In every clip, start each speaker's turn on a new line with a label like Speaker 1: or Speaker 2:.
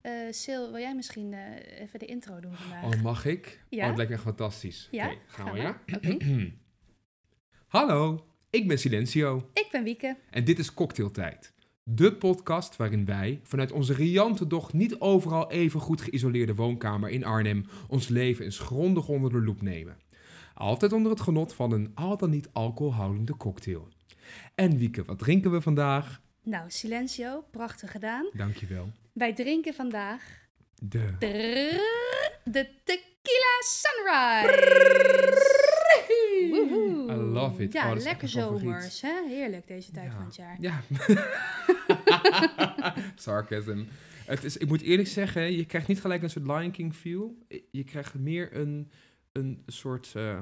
Speaker 1: Eh, Sil, wil jij misschien eh, even de intro doen vandaag?
Speaker 2: Oh, mag ik?
Speaker 1: Ja.
Speaker 2: Oh, het lijkt me echt fantastisch.
Speaker 1: Ja,
Speaker 2: Oké, gaan
Speaker 1: Ga
Speaker 2: we, ja?
Speaker 1: maar. Oké.
Speaker 2: Hallo, ik ben Silencio
Speaker 1: Ik ben Wieke.
Speaker 2: en dit is Cocktailtijd. De podcast waarin wij, vanuit onze riante doch niet overal even goed geïsoleerde woonkamer in Arnhem, ons leven eens grondig onder de loep nemen. Altijd onder het genot van een al dan niet alcoholhoudende cocktail. En Wieke, wat drinken we vandaag?
Speaker 1: Nou, Silencio, prachtig gedaan.
Speaker 2: Dankjewel.
Speaker 1: Wij drinken vandaag
Speaker 2: De...
Speaker 1: drrrr, de Tequila Sunrise. Woehoe.
Speaker 2: I love it. Oh,
Speaker 1: Ja,
Speaker 2: dat is echt
Speaker 1: lekker
Speaker 2: een favoriet.
Speaker 1: zomers. Hè? Heerlijk deze tijd van het jaar.
Speaker 2: Ja. Sarcasm. Het is, ik moet eerlijk zeggen, je krijgt niet gelijk een soort Lion King feel. Je krijgt meer een, een soort... eh,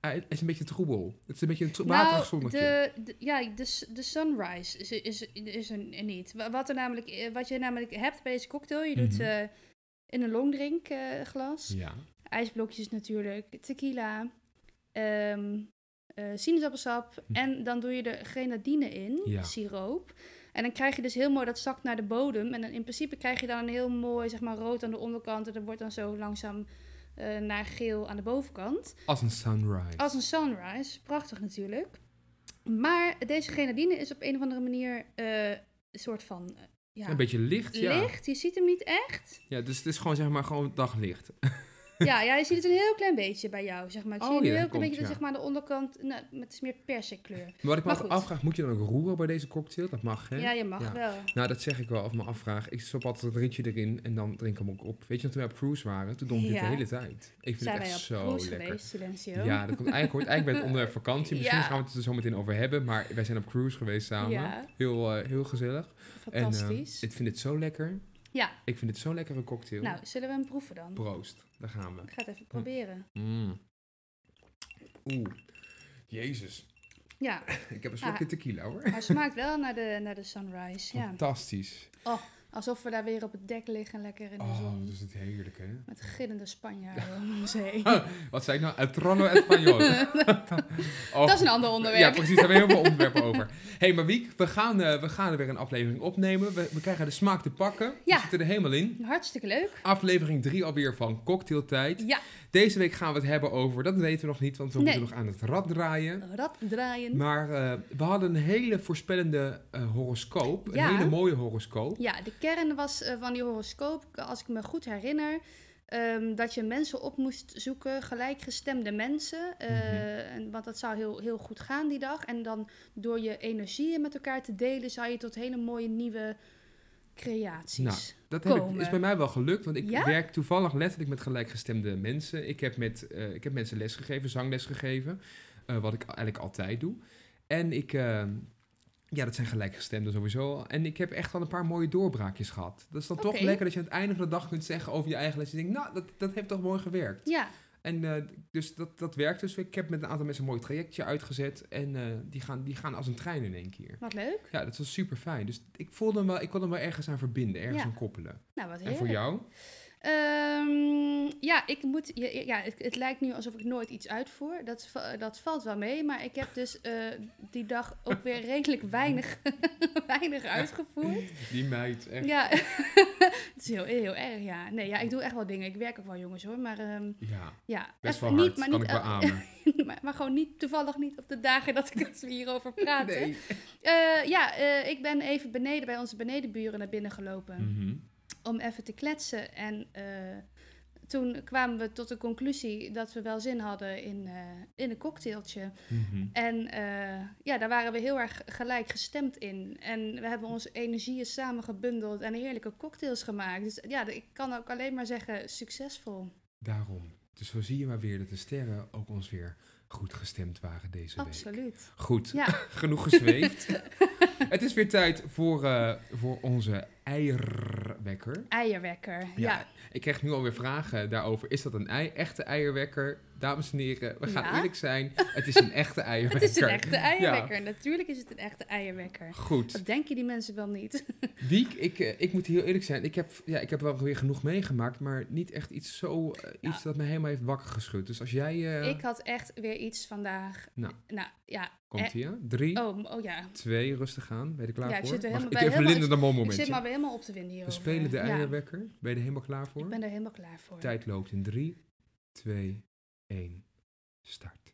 Speaker 2: het is een beetje troebel. Het is een beetje een tro- waterig zonnetje.
Speaker 1: Nou, de, de- ja, de, s- de sunrise is, is, is er niet. Wa- Wat, er namelijk, eh, wat je namelijk hebt bij deze cocktail, je doet
Speaker 2: Mhm.
Speaker 1: eh, in een longdrinkglas, glas
Speaker 2: Ja.
Speaker 1: ijsblokjes natuurlijk, tequila, ehm, eh, sinaasappelsap. En dan doe je er grenadine in,
Speaker 2: Hm. Ja.
Speaker 1: siroop. En dan krijg je dus heel mooi dat zakt naar de bodem. En dan in principe krijg je dan een heel mooi, zeg maar, rood aan de onderkant. En dat wordt dan zo langzaam eh, naar geel aan de bovenkant.
Speaker 2: Als een sunrise.
Speaker 1: Als een sunrise. Prachtig natuurlijk. Maar deze grenadine is op een of andere manier eh, een soort van eh, ja,
Speaker 2: Een beetje licht, ja.
Speaker 1: licht. Je ziet hem niet echt.
Speaker 2: ja. Dus het is gewoon, zeg maar, gewoon daglicht.
Speaker 1: ja, ja, je ziet het een heel klein beetje bij jou, zeg maar. Ik
Speaker 2: Oh,
Speaker 1: zie nu
Speaker 2: ja,
Speaker 1: heel klein
Speaker 2: komt,
Speaker 1: beetje, dat
Speaker 2: ja.
Speaker 1: zeg maar, aan de onderkant... Nou, het is meer persikkleur.
Speaker 2: Maar wat ik me
Speaker 1: Maar
Speaker 2: af-
Speaker 1: goed.
Speaker 2: afvraag, moet je dan ook roeren bij deze cocktail? Dat mag, hè?
Speaker 1: Ja, je mag
Speaker 2: Ja.
Speaker 1: wel.
Speaker 2: Nou, dat zeg ik wel, of me afvraag. Ik stop altijd een rietje erin en dan drink ik hem ook op. Weet je, nog, toen we op cruise waren, toen dronk ik dit
Speaker 1: Ja.
Speaker 2: de hele tijd. Ik vind
Speaker 1: Zijn
Speaker 2: het
Speaker 1: wij
Speaker 2: echt
Speaker 1: op
Speaker 2: zo
Speaker 1: cruise
Speaker 2: lekker.
Speaker 1: geweest, Silencio?
Speaker 2: Ja, dat komt eigenlijk, hoort eigenlijk bij het onderwerp vakantie. Misschien
Speaker 1: Ja.
Speaker 2: gaan we het er zo meteen over hebben. Maar wij zijn op cruise geweest samen.
Speaker 1: Ja.
Speaker 2: Heel, eh, heel gezellig.
Speaker 1: Fantastisch.
Speaker 2: En, eh, ik vind het zo lekker.
Speaker 1: Ja,
Speaker 2: Ik vind het zo'n lekkere cocktail.
Speaker 1: nou, zullen we hem proeven dan?
Speaker 2: Proost. Daar gaan we.
Speaker 1: Ik ga het even proberen.
Speaker 2: Mm. Oeh. Jezus.
Speaker 1: Ja,
Speaker 2: Ik heb een slokje
Speaker 1: Ah.
Speaker 2: tequila hoor.
Speaker 1: hij smaakt wel naar de, naar de sunrise.
Speaker 2: Hm.
Speaker 1: Ja.
Speaker 2: Fantastisch.
Speaker 1: Alsof we daar weer op het dek liggen, lekker in de
Speaker 2: Oh,
Speaker 1: zon.
Speaker 2: dat is het heerlijk hè.
Speaker 1: Met gillende Spanjaarden om ons heen.
Speaker 2: Wat zei ik nou? El trono español. oh,
Speaker 1: Dat is een ander
Speaker 2: Ja,
Speaker 1: onderwerp.
Speaker 2: precies. Daar hebben we heel veel onderwerpen over. hey, maar Wiek, we gaan, eh, we gaan er weer een aflevering opnemen. We, we krijgen de smaak te pakken.
Speaker 1: Ja.
Speaker 2: We zitten er helemaal in.
Speaker 1: Hartstikke leuk.
Speaker 2: Aflevering 3 alweer van Cocktailtijd.
Speaker 1: Ja,
Speaker 2: Deze week gaan we het hebben over, dat weten we nog niet, want we
Speaker 1: Nee.
Speaker 2: moeten nog aan het rad draaien.
Speaker 1: rad draaien.
Speaker 2: Maar eh, we hadden een hele voorspellende eh, horoscoop.
Speaker 1: Ja.
Speaker 2: Een hele mooie horoscoop.
Speaker 1: Ja, de kern was eh, van die horoscoop, als ik me goed herinner, ehm, dat je mensen op moest zoeken, gelijkgestemde mensen. eh,
Speaker 2: Mhm.
Speaker 1: en, want dat zou heel, heel goed gaan die dag. En dan door je energieën met elkaar te delen, zou je tot hele mooie nieuwe creaties.
Speaker 2: Dat heb ik,
Speaker 1: Komen.
Speaker 2: is bij mij wel gelukt, want ik
Speaker 1: Ja?
Speaker 2: werk toevallig letterlijk met gelijkgestemde mensen. Ik heb, met, eh, ik heb mensen lesgegeven, zangles gegeven, eh, wat ik eigenlijk altijd doe. En ik, eh, ja, dat zijn gelijkgestemden sowieso. al. En ik heb echt al een paar mooie doorbraakjes gehad. Dat is dan toch
Speaker 1: Oké.
Speaker 2: lekker dat je aan het einde van de dag kunt zeggen over je eigen les. Je denkt, nou, dat, dat heeft toch mooi gewerkt.
Speaker 1: Ja,
Speaker 2: En eh, dus dat, dat werkt dus. Ik heb met een aantal mensen een mooi trajectje uitgezet. En eh, die, gaan, die gaan als een trein in één keer.
Speaker 1: wat leuk.
Speaker 2: Ja, dat was super fijn. Dus ik voelde hem wel, ik kon hem wel ergens aan verbinden, ergens
Speaker 1: Ja.
Speaker 2: aan koppelen.
Speaker 1: Nou, wat
Speaker 2: En voor
Speaker 1: heerlijk.
Speaker 2: jou?
Speaker 1: Ehm, ja, ik moet, ja, ja, het, het lijkt nu alsof ik nooit iets uitvoer. Dat, va- dat valt wel mee. Maar ik heb dus eh, die dag ook weer redelijk weinig, weinig uitgevoerd.
Speaker 2: Die meid, echt.
Speaker 1: Ja, het is heel, heel erg, ja. Nee, ja, ik doe echt wel dingen. Ik werk ook wel, jongens, hoor. Maar ehm,
Speaker 2: Ja,
Speaker 1: ja,
Speaker 2: best
Speaker 1: even
Speaker 2: wel hard,
Speaker 1: maar
Speaker 2: kan ik
Speaker 1: niet el-
Speaker 2: beamen.
Speaker 1: maar, maar gewoon niet, toevallig niet op de dagen dat ik dat we hierover praten.
Speaker 2: Nee.
Speaker 1: Eh, ja, eh, ik ben even beneden bij onze benedenburen naar binnen gelopen.
Speaker 2: Mhm.
Speaker 1: Om even te kletsen. En eh, toen kwamen we tot de conclusie dat we wel zin hadden in, eh, in een cocktailtje.
Speaker 2: Mhm.
Speaker 1: En eh, ja, daar waren we heel erg gelijk gestemd in. En we hebben onze energieën samen gebundeld en heerlijke cocktails gemaakt. Dus ja, ik kan ook alleen maar zeggen, succesvol.
Speaker 2: Daarom. Dus zo zie je maar weer dat de sterren ook ons weer goed gestemd waren deze week.
Speaker 1: Absoluut.
Speaker 2: Goed,
Speaker 1: Ja,
Speaker 2: genoeg gezweefd. Het is weer tijd voor, eh, voor onze eierwekker.
Speaker 1: eierwekker. Ja.
Speaker 2: Ik krijg nu alweer vragen daarover. Is dat een ei, echte eierwekker? dames en heren, we gaan
Speaker 1: Ja?
Speaker 2: eerlijk zijn. Het is een echte
Speaker 1: Het
Speaker 2: eierwekker.
Speaker 1: is een echte
Speaker 2: Ja.
Speaker 1: eierwekker. Natuurlijk is het een echte eierwekker.
Speaker 2: Goed.
Speaker 1: Dat denken die mensen wel niet.
Speaker 2: Wiek, ik, eh, ik moet heel eerlijk zijn. Ik heb, ja, ik heb wel weer genoeg meegemaakt, maar niet echt iets zo... eh, iets dat me helemaal heeft wakker geschud. Dus als jij... eh,
Speaker 1: Ik had echt weer iets vandaag.
Speaker 2: Nou.
Speaker 1: ja.
Speaker 2: Komt hier. Drie,
Speaker 1: Oh, m- oh ja.
Speaker 2: twee, rustig aan. Ben je er klaar
Speaker 1: Ja, ik
Speaker 2: voor?
Speaker 1: zit er
Speaker 2: Wacht,
Speaker 1: helemaal-
Speaker 2: ik
Speaker 1: bij
Speaker 2: even
Speaker 1: helemaal-
Speaker 2: Linda de mol
Speaker 1: Ik zit
Speaker 2: momentje.
Speaker 1: maar weer helemaal op te winden hier.
Speaker 2: We spelen de
Speaker 1: ja,
Speaker 2: eierwekker. Ben je er helemaal klaar voor?
Speaker 1: Ik ben er helemaal klaar voor. Oké,
Speaker 2: Tijd loopt in drie, twee, één. Start.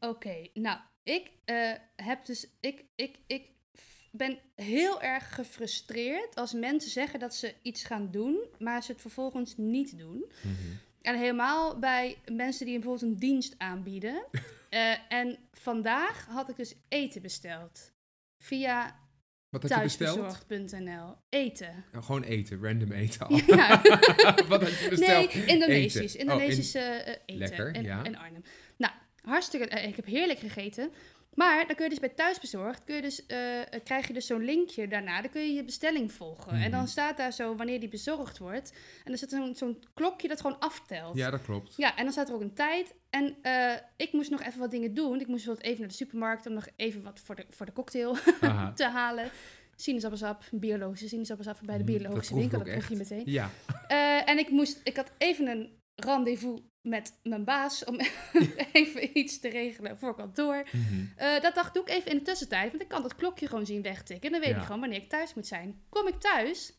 Speaker 1: nou, ik eh, heb dus. Ik, ik, ik f- ben heel erg gefrustreerd als mensen zeggen dat ze iets gaan doen, maar ze het vervolgens niet doen. En helemaal bij mensen die bijvoorbeeld een dienst aanbieden. Eh, en vandaag had ik dus eten besteld. Via
Speaker 2: Wat had je besteld?
Speaker 1: thuisbezorgd.nl. Eten.
Speaker 2: Nou, gewoon eten, random eten al.
Speaker 1: Ja.
Speaker 2: Wat had je besteld?
Speaker 1: Nee, Indonesisch.
Speaker 2: Eten.
Speaker 1: Indonesische eh, eten.
Speaker 2: Oh, Lekker,
Speaker 1: en,
Speaker 2: ja.
Speaker 1: en Arnhem. Nou, hartstikke... eh, ik heb heerlijk gegeten. Maar dan kun je dus bij thuisbezorgd, kun je dus, eh, eh, krijg je dus zo'n linkje daarna. Dan kun je je bestelling volgen. En dan
Speaker 2: Mhm.
Speaker 1: staat daar zo wanneer die bezorgd wordt. En dan zit zo'n zo'n klokje dat gewoon aftelt.
Speaker 2: Ja, dat klopt.
Speaker 1: Ja, en dan staat er ook een tijd. En eh, ik moest nog even wat dingen doen. Ik moest bijvoorbeeld even naar de supermarkt om nog even wat voor de, voor de cocktail
Speaker 2: Aha.
Speaker 1: te halen. Sinaasappelsap, biologische sinaasappelsap bij de
Speaker 2: Mm, dat
Speaker 1: biologische
Speaker 2: proef ik
Speaker 1: winkel.
Speaker 2: ook
Speaker 1: Dat proef je meteen.
Speaker 2: Ja,
Speaker 1: Eh, en ik, moest, ik had even een rendezvous met mijn baas om even iets te regelen voor kantoor.
Speaker 2: mhm.
Speaker 1: Eh, dat dacht doe ik even in de tussentijd, want ik kan dat klokje gewoon zien wegtikken. En dan weet
Speaker 2: Ja.
Speaker 1: ik gewoon wanneer ik thuis moet zijn. Kom ik thuis,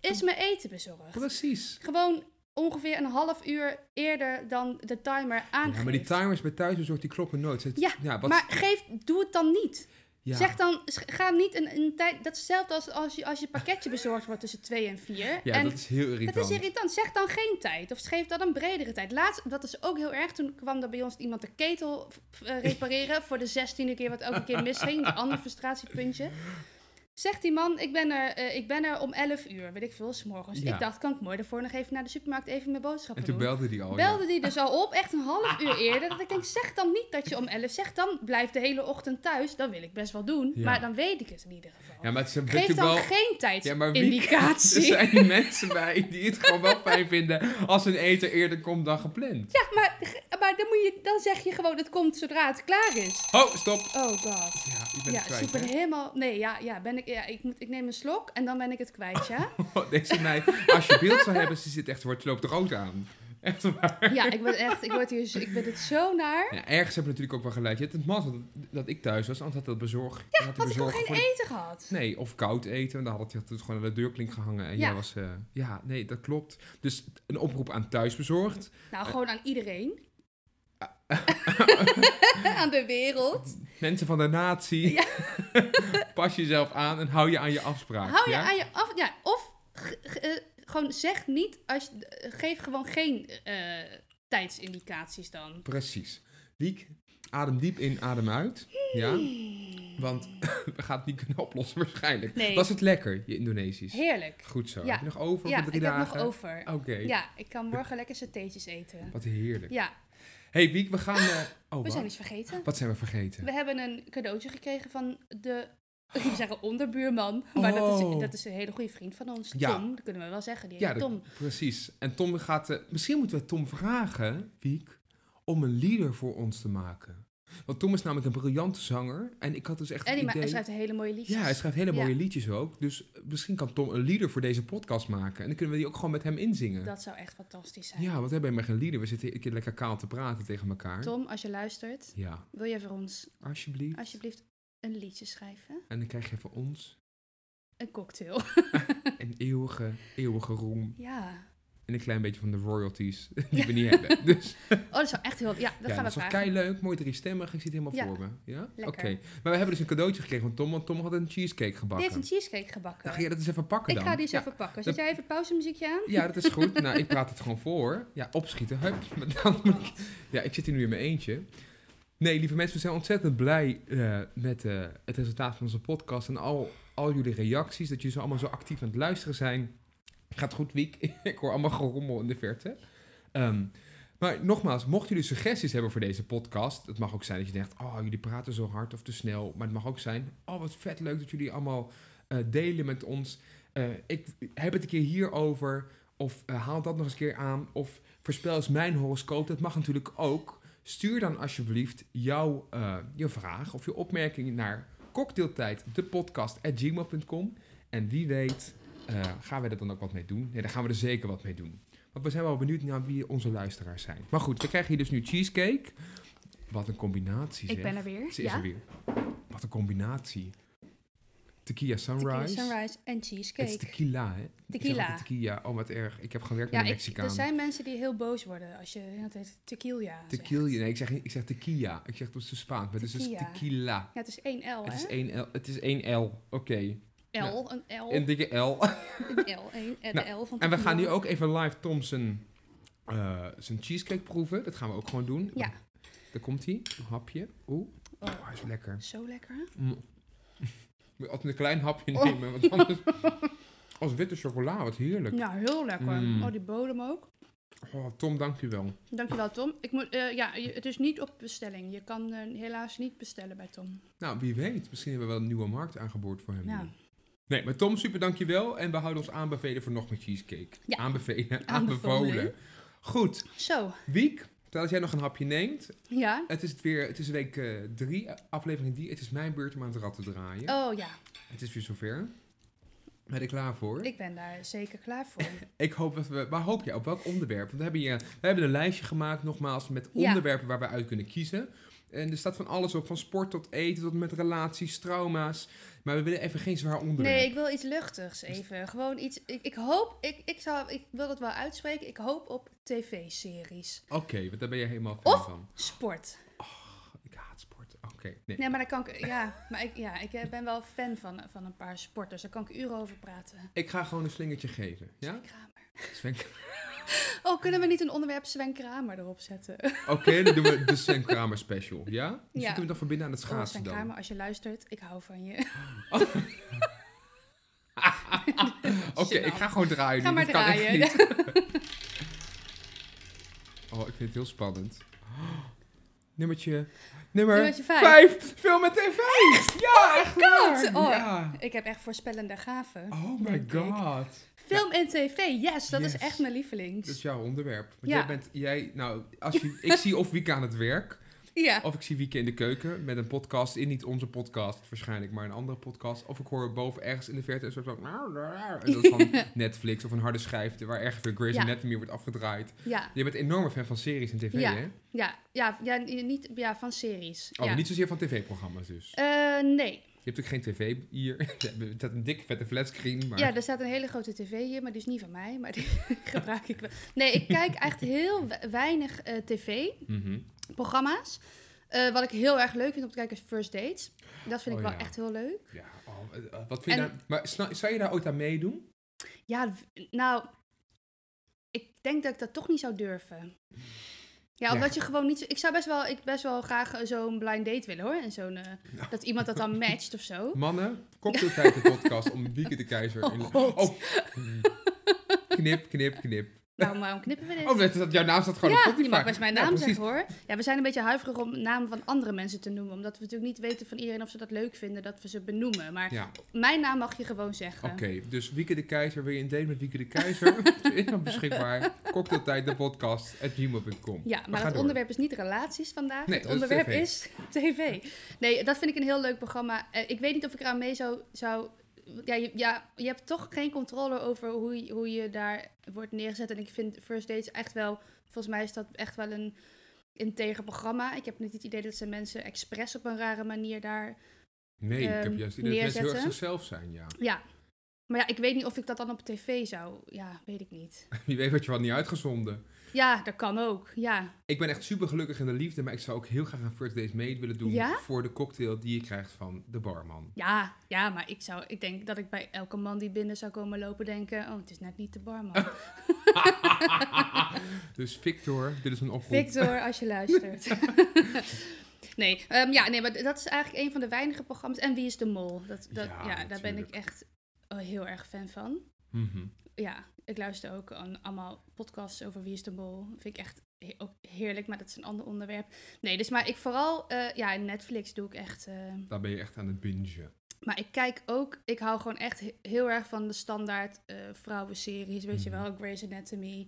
Speaker 1: is mijn eten bezorgd.
Speaker 2: precies.
Speaker 1: Gewoon ongeveer een half uur eerder dan de timer aangeeft.
Speaker 2: Ja, maar die timers bij thuisbezorgd, die kloppen nooit. Zet-
Speaker 1: Ja,
Speaker 2: wat,
Speaker 1: Maar geef, doe het dan niet.
Speaker 2: ja.
Speaker 1: Zeg dan, sch- ga niet een, een tijd... Dat is hetzelfde als, als, je, als je pakketje bezorgd wordt tussen twee en vier.
Speaker 2: ja,
Speaker 1: en
Speaker 2: dat is heel
Speaker 1: dat
Speaker 2: irritant.
Speaker 1: is irritant. Zeg dan geen tijd. Of geef dan een bredere tijd. Laatst, dat is ook heel erg. Toen kwam er bij ons iemand de ketel eh, repareren. voor de zestiende keer, wat elke keer misging. Een ander frustratiepuntje. Zegt die man, ik ben er, eh, ik ben er om 11 uur, weet ik veel, s'morgens.
Speaker 2: Ja.
Speaker 1: Ik dacht, kan ik mooi daarvoor nog even naar de supermarkt even mijn boodschappen
Speaker 2: en toen
Speaker 1: doen.
Speaker 2: belde die al. ja.
Speaker 1: Belde die dus al op, echt een half uur eerder. Dat ik denk, zeg dan niet dat je om 11 zegt. Dan blijf de hele ochtend thuis. Dat wil ik best wel doen.
Speaker 2: Ja.
Speaker 1: Maar dan weet ik het in ieder geval.
Speaker 2: Ja, maar het is een
Speaker 1: Geef
Speaker 2: beetje
Speaker 1: dan
Speaker 2: wel...
Speaker 1: geen
Speaker 2: Ja, maar wie- Dus
Speaker 1: tijdsindicatie.
Speaker 2: Er zijn mensen bij die het gewoon wel fijn vinden als hun eten eerder komt dan gepland.
Speaker 1: Ja, maar, maar dan, moet je, dan zeg je gewoon het komt zodra het klaar is.
Speaker 2: Oh, stop.
Speaker 1: Oh god.
Speaker 2: Ja, ik ben
Speaker 1: Ja,
Speaker 2: het kwijt.
Speaker 1: super
Speaker 2: hè?
Speaker 1: helemaal. Nee, ja, ja, ben ik, ja ik, moet, ik neem een slok en dan ben ik het kwijt, ja?
Speaker 2: Deze meid, als je beeld zou hebben, ze zit echt, wordt loopt rood aan. Echt waar.
Speaker 1: Ja, ik word echt, ik word hier, zo- ik ben het zo naar.
Speaker 2: Ja, ergens hebben we natuurlijk ook wel gelijk. Je hebt het mazzel dat, dat ik thuis was, anders had dat bezorg. Ja, had die
Speaker 1: Had ik nog
Speaker 2: bezorger
Speaker 1: geen
Speaker 2: voor-
Speaker 1: eten gehad.
Speaker 2: Nee, of koud eten. Dan had het gewoon aan de deurklink gehangen. En
Speaker 1: Ja.
Speaker 2: jij was... eh, ja, nee, dat klopt. Dus een oproep aan thuisbezorgd.
Speaker 1: Nou, gewoon aan iedereen. aan de wereld.
Speaker 2: Mensen van de natie. Pas jezelf aan en hou je aan je afspraak.
Speaker 1: Hou je
Speaker 2: ja?
Speaker 1: aan je af. Ja, of ge- ge- eh, gewoon zeg niet. Als, je- eh, geef gewoon geen eh, tijdsindicaties dan.
Speaker 2: Precies. Wiek, adem diep in, adem uit. Ja, want we gaan het niet kunnen oplossen waarschijnlijk.
Speaker 1: Nee.
Speaker 2: Was het lekker, je Indonesisch?
Speaker 1: Heerlijk.
Speaker 2: Goed zo.
Speaker 1: Ja.
Speaker 2: Heb je nog over
Speaker 1: Ja,
Speaker 2: voor drie
Speaker 1: ik heb
Speaker 2: dagen?
Speaker 1: nog over.
Speaker 2: Oké,
Speaker 1: Ja, ik kan morgen lekker satéetjes eten.
Speaker 2: wat heerlijk.
Speaker 1: Ja,
Speaker 2: hey, Wiek, we gaan... eh, oh,
Speaker 1: we
Speaker 2: wat?
Speaker 1: zijn iets vergeten.
Speaker 2: Wat zijn we vergeten?
Speaker 1: We hebben een cadeautje gekregen van de, ik wil zeggen onderbuurman, maar dat,
Speaker 2: Oh.
Speaker 1: is, dat is een hele goede vriend van ons,
Speaker 2: Ja.
Speaker 1: Tom, dat kunnen we wel zeggen. Die
Speaker 2: Ja,
Speaker 1: heet
Speaker 2: dat-
Speaker 1: Tom.
Speaker 2: precies. En Tom gaat... eh, misschien moeten we Tom vragen, Wiek, om een lieder voor ons te maken. Want Tom is namelijk een briljante zanger. En ik had dus echt
Speaker 1: En die
Speaker 2: het
Speaker 1: ma-
Speaker 2: idee...
Speaker 1: hij schrijft hele mooie liedjes.
Speaker 2: Ja, hij schrijft hele mooie
Speaker 1: Ja.
Speaker 2: liedjes ook. Dus misschien kan Tom een lieder voor deze podcast maken. En dan kunnen we die ook gewoon met hem inzingen.
Speaker 1: Dat zou echt fantastisch zijn.
Speaker 2: Ja, want we hebben helemaal geen lieder. We zitten een keer lekker kaal te praten tegen elkaar.
Speaker 1: Tom, als je luistert,
Speaker 2: Ja,
Speaker 1: wil je voor ons
Speaker 2: alsjeblieft.
Speaker 1: alsjeblieft een liedje schrijven?
Speaker 2: En dan krijg je van ons
Speaker 1: Een cocktail.
Speaker 2: een eeuwige, eeuwige roem.
Speaker 1: ja.
Speaker 2: En een klein beetje van de royalties die we niet hebben. Dus
Speaker 1: Oh, dat zou echt heel... Ja, dat
Speaker 2: ja,
Speaker 1: gaan we
Speaker 2: dat is
Speaker 1: vragen.
Speaker 2: kei leuk. Mooi drie stemmen. Ik zie het helemaal
Speaker 1: Ja.
Speaker 2: voor me. Ja? Oké.
Speaker 1: Lekker.
Speaker 2: Maar we hebben dus een cadeautje gekregen van Tom, want Tom had een cheesecake
Speaker 1: Die heeft
Speaker 2: gebakken.
Speaker 1: een cheesecake gebakken.
Speaker 2: Dan ga je dat eens even pakken
Speaker 1: ik
Speaker 2: dan.
Speaker 1: ga die zo
Speaker 2: ja.
Speaker 1: even pakken. Zet jij even pauzemuziekje aan?
Speaker 2: Ja, dat is goed. nou, ik praat het gewoon voor. Ja, opschieten. Hup. Maar dan moet ik- Ja, ik zit hier nu in mijn eentje. Nee, lieve mensen, we zijn ontzettend blij eh, met eh, het resultaat van onze podcast en al, al jullie reacties. Dat jullie zo allemaal zo actief aan het luisteren zijn. Gaat goed, Wiek. ik hoor allemaal gerommel in de verte. Ehm, maar nogmaals, mochten jullie suggesties hebben voor deze podcast, het mag ook zijn dat je denkt, oh, jullie praten zo hard of te snel. Maar het mag ook zijn, oh, wat vet leuk dat jullie allemaal eh, delen met ons. Eh, ik heb het een keer hierover. Of eh, haal dat nog eens een keer aan. Of voorspel eens mijn horoscoop. Dat mag natuurlijk ook. Stuur dan alsjeblieft jouw eh, je vraag of je opmerking naar cocktailtijddepodcast.gmail.com. En wie weet eh, gaan we er dan ook wat mee doen. Nee, daar gaan we er zeker wat mee doen. Want we zijn wel benieuwd naar wie onze luisteraars zijn. Maar goed, we krijgen hier dus nu cheesecake. Wat een combinatie zeg.
Speaker 1: Ik ben er weer.
Speaker 2: Ze is
Speaker 1: ja.
Speaker 2: er weer. Wat een combinatie. Tequila Sunrise.
Speaker 1: Tequila sunrise en
Speaker 2: Het is
Speaker 1: cheesecake.
Speaker 2: tequila, hè? Ik zeg
Speaker 1: Tequila.
Speaker 2: altijd tequila. Oh, wat erg. Ik heb gewerkt
Speaker 1: Ja,
Speaker 2: met een
Speaker 1: ik,
Speaker 2: Mexicaan.
Speaker 1: er zijn mensen die heel boos worden als je dat heet tequila. zegt.
Speaker 2: Tequila. Nee, ik zeg, ik zeg tequila. Ik zeg het op zijn Spaans, maar het is dus
Speaker 1: Tequila.
Speaker 2: tequila.
Speaker 1: Ja, het is één L,
Speaker 2: Het is
Speaker 1: hè?
Speaker 2: één L. Het is één L. Oké.
Speaker 1: L, een L,
Speaker 2: Een dikke L.
Speaker 1: een L, een, een
Speaker 2: Nou,
Speaker 1: L van
Speaker 2: En we gaan nu
Speaker 1: tequila.
Speaker 2: ook even live Tom zijn, eh, zijn cheesecake proeven. Dat gaan we ook gewoon doen.
Speaker 1: Ja.
Speaker 2: Daar komt hij. Een hapje. Oeh. Oh, hij is lekker.
Speaker 1: Zo lekker, hè?
Speaker 2: Mm. Moet je altijd een klein hapje
Speaker 1: Oh.
Speaker 2: nemen, want anders... Als witte chocola, wat heerlijk.
Speaker 1: Nou, heel lekker.
Speaker 2: Mm.
Speaker 1: Oh, die bodem ook.
Speaker 2: Oh, Tom, dankjewel.
Speaker 1: Dankjewel, Tom. Ik moet, eh, ja, je- het is niet op bestelling. Je kan eh, helaas niet bestellen bij Tom.
Speaker 2: Nou, wie weet. Misschien hebben we wel een nieuwe markt aangeboord voor hem.
Speaker 1: Ja.
Speaker 2: Nee, maar Tom, super dankjewel. En we houden ons aanbevelen voor nog meer cheesecake.
Speaker 1: Ja.
Speaker 2: Aanbevelen,
Speaker 1: Aanbevolen.
Speaker 2: aanbevolen. Goed,
Speaker 1: Zo,
Speaker 2: Wiek, terwijl jij nog een hapje neemt.
Speaker 1: ja.
Speaker 2: Het is, het weer, het is week eh, drie, eh, aflevering drie. Het is mijn beurt om aan het rad te draaien.
Speaker 1: Oh ja,
Speaker 2: Het is weer zover. Ben je er klaar voor?
Speaker 1: ik ben daar zeker klaar voor.
Speaker 2: Ik hoop dat we. Waar hoop jij op? Welk onderwerp? Want we hebben, hier, we hebben een lijstje gemaakt, nogmaals, met
Speaker 1: Ja.
Speaker 2: onderwerpen waar we uit kunnen kiezen. En er staat van alles op, van sport tot eten, tot met relaties, trauma's. Maar we willen even geen zwaar onderwerp.
Speaker 1: Nee, ik wil iets luchtigs
Speaker 2: Dus-
Speaker 1: even. Gewoon iets. Ik, ik hoop, ik, ik, zou, ik wil het wel uitspreken. Ik hoop op tv-series.
Speaker 2: Oké, want daar ben je helemaal fan
Speaker 1: Of-
Speaker 2: van.
Speaker 1: Sport.
Speaker 2: Ik haat sport. Oké. Nee.
Speaker 1: Nee, maar daar kan ik. Ja, maar ik, ja, ik eh, ben wel fan van, van een paar sporters. Daar kan ik uren over praten.
Speaker 2: Ik ga gewoon een slingertje geven. Ja?
Speaker 1: Sven Kramer.
Speaker 2: Sven-
Speaker 1: Oh, kunnen we niet een onderwerp Sven Kramer erop zetten?
Speaker 2: Oké, dan doen we de Sven Kramer special. Ja? Dan
Speaker 1: Ja.
Speaker 2: zitten we dan verbinden aan het
Speaker 1: Oh,
Speaker 2: schaatsen
Speaker 1: Sven
Speaker 2: dan.
Speaker 1: Kramer, als je luistert, ik hou van je.
Speaker 2: Oké, ik ga gewoon draaien.
Speaker 1: Ga
Speaker 2: nu,
Speaker 1: maar
Speaker 2: dit kan echt
Speaker 1: draaien.
Speaker 2: niet. Oh, ik vind het heel spannend. Nummertje. Nummer,
Speaker 1: Nummertje vijf.
Speaker 2: Film met tv. Ja, echt
Speaker 1: God!
Speaker 2: waar.
Speaker 1: Oh,
Speaker 2: Ja.
Speaker 1: ik heb echt voorspellende gaven.
Speaker 2: Oh my
Speaker 1: Denk ik.
Speaker 2: god.
Speaker 1: Film en tv, yes, dat is
Speaker 2: Yes. Dus-
Speaker 1: echt mijn
Speaker 2: Dat is
Speaker 1: lievelings.
Speaker 2: jouw onderwerp. Want
Speaker 1: Ja.
Speaker 2: jij bent, jij, nou, als je, ik zie of Wieke aan het werk,
Speaker 1: Ja,
Speaker 2: of ik zie Wieke in de keuken met een podcast, in niet onze podcast waarschijnlijk, maar een andere podcast. Of ik hoor boven ergens in de verte een soort van, en dat is van Netflix of een harde schijf waar ergens weer Grey's
Speaker 1: Ja.
Speaker 2: Anatomy wordt afgedraaid.
Speaker 1: ja,
Speaker 2: Je bent een enorme fan van series en tv,
Speaker 1: Ja.
Speaker 2: hè?
Speaker 1: ja, ja, ja, niet, ja van series.
Speaker 2: Oh,
Speaker 1: ja.
Speaker 2: niet zozeer van tv-programma's dus.
Speaker 1: Eh, nee,
Speaker 2: Je hebt ook geen tv hier. Er staat een dikke vette flatscreen, maar...
Speaker 1: ja, er staat een hele grote tv hier, maar die is niet van mij, maar die gebruik ik wel. Nee, ik kijk echt heel we- weinig tv-programma's.
Speaker 2: Mhm.
Speaker 1: Eh, wat ik heel erg leuk vind om te kijken is First Dates. Dat vind ik
Speaker 2: Oh,
Speaker 1: wel
Speaker 2: ja.
Speaker 1: echt heel leuk.
Speaker 2: Ja, oh, eh, eh, wat vind je
Speaker 1: En-
Speaker 2: daar... Maar sna- zou je daar ooit aan meedoen?
Speaker 1: Ja, w- nou, ik denk dat ik dat toch niet zou durven. Ja,
Speaker 2: Ja.
Speaker 1: omdat je gewoon niet... zo- Ik zou best wel, ik best wel graag eh, zo'n blind date willen, hoor. En zo'n... eh, Dat iemand dat dan matcht of zo.
Speaker 2: Mannen, cocktailtijd de podcast om Wieke de Keizer...
Speaker 1: Oh,
Speaker 2: in-
Speaker 1: God.
Speaker 2: Mm. Knip, knip, knip.
Speaker 1: Nou, waarom knippen we dit?
Speaker 2: Oh, dat, dat, jouw naam staat gewoon
Speaker 1: ja,
Speaker 2: op Spotify.
Speaker 1: je mag best mijn
Speaker 2: Ja,
Speaker 1: naam
Speaker 2: precies.
Speaker 1: zeggen, hoor. Ja, we zijn een beetje huiverig om namen van andere mensen te noemen. Omdat we natuurlijk niet weten van iedereen of ze dat leuk vinden dat we ze benoemen. Maar
Speaker 2: Ja,
Speaker 1: mijn naam mag je gewoon zeggen.
Speaker 2: oké. Dus Wieke de Keizer, wil je een date met Wieke de Keizer? is dan beschikbaar. Cocktailtijd de podcast at gmail.com.
Speaker 1: Ja, maar
Speaker 2: gaan
Speaker 1: het
Speaker 2: door.
Speaker 1: onderwerp is niet relaties vandaag.
Speaker 2: Nee,
Speaker 1: het
Speaker 2: dat is
Speaker 1: onderwerp
Speaker 2: TV.
Speaker 1: is tv. Nee, dat vind ik een heel leuk programma. Eh, ik weet niet of ik eraan mee zou... zou ja, je, ja, je hebt toch geen controle over hoe, je- hoe je daar wordt neergezet. En ik vind First Dates echt wel... Volgens mij is dat echt wel een integer programma. Ik heb niet het idee dat ze mensen expres op een rare manier daar...
Speaker 2: Nee, ik heb
Speaker 1: ehm,
Speaker 2: juist het idee dat mensen heel erg
Speaker 1: neerzetten.
Speaker 2: zichzelf zijn, ja.
Speaker 1: Ja. Maar ja, ik weet niet of ik dat dan op tv zou... Ja, weet ik niet.
Speaker 2: Wie weet wat je wat niet uitgezonden.
Speaker 1: Ja, dat kan ook. Ja.
Speaker 2: Ik ben echt super gelukkig in de liefde, maar ik zou ook heel graag een first date mee willen doen
Speaker 1: Ja?
Speaker 2: voor de cocktail die je krijgt van de barman.
Speaker 1: Ja, ja, maar ik, zou, ik denk dat ik bij elke man die binnen zou komen lopen denken... Oh, het is net niet de barman.
Speaker 2: Oh. Dus Victor, dit is een oproep.
Speaker 1: Victor, als je luistert. nee, ehm, ja, nee, maar dat is eigenlijk een van de weinige programma's. En Wie is de Mol? Dat, dat,
Speaker 2: Ja,
Speaker 1: ja, daar ben ik
Speaker 2: natuurlijk.
Speaker 1: echt eh, heel erg fan van.
Speaker 2: Mhm.
Speaker 1: Ja, ik luister ook aan allemaal podcasts over Wie is de Mol. Vind ik echt he- ook heerlijk, maar dat is een ander onderwerp. Nee, dus maar ik vooral... eh, ja, Netflix doe ik echt... eh,
Speaker 2: Daar ben je echt aan het bingen.
Speaker 1: Maar ik kijk ook, ik hou gewoon echt he- heel erg van de standaard eh, vrouwenseries. Weet je
Speaker 2: Mhm.
Speaker 1: wel, Grey's Anatomy,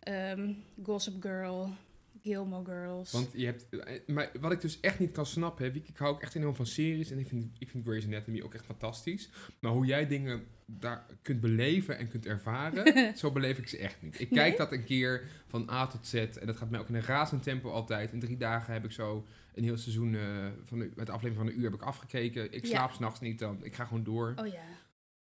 Speaker 1: ehm, Gossip Girl, Gilmore Girls.
Speaker 2: Want je hebt... eh, Maar wat ik dus echt niet kan snappen... Hè, Wieke, ik hou ook echt enorm van series... en ik vind, ik vind Grey's Anatomy ook echt fantastisch. Maar hoe jij dingen daar kunt beleven en kunt ervaren... zo beleef ik ze echt niet. Ik kijk
Speaker 1: Nee?
Speaker 2: dat een keer van A tot Z... en dat gaat mij ook in een razend tempo altijd. In drie dagen heb ik zo een heel seizoen... eh, van de, met de aflevering van een uur heb ik afgekeken. Ik
Speaker 1: Ja.
Speaker 2: slaap 's s'nachts niet dan. Ik ga gewoon door.
Speaker 1: Oh ja.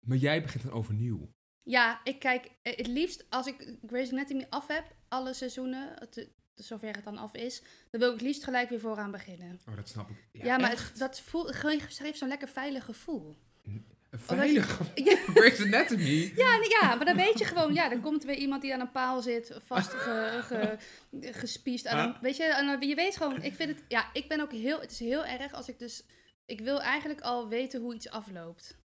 Speaker 2: Maar jij begint dan overnieuw.
Speaker 1: Ja, ik kijk eh, het liefst als ik Grey's Anatomy af heb, alle seizoenen, het- zover het dan af is, dan wil ik het liefst gelijk weer vooraan beginnen.
Speaker 2: Oh, dat snap ik.
Speaker 1: Ja, maar
Speaker 2: echt.
Speaker 1: het, dat voel, gewoon geeft zo'n lekker veilig gevoel.
Speaker 2: Een
Speaker 1: je-
Speaker 2: veilige
Speaker 1: Ja,
Speaker 2: Grey's Anatomy.
Speaker 1: ja, nee, ja, maar dan weet je gewoon, ja, dan komt weer iemand die aan een paal zit, vast ge, ge- gespiesd. Aan een, weet je, en dan- je weet gewoon, ik vind het, ja, ik ben ook heel, het is heel erg als ik dus, ik wil eigenlijk al weten hoe iets afloopt.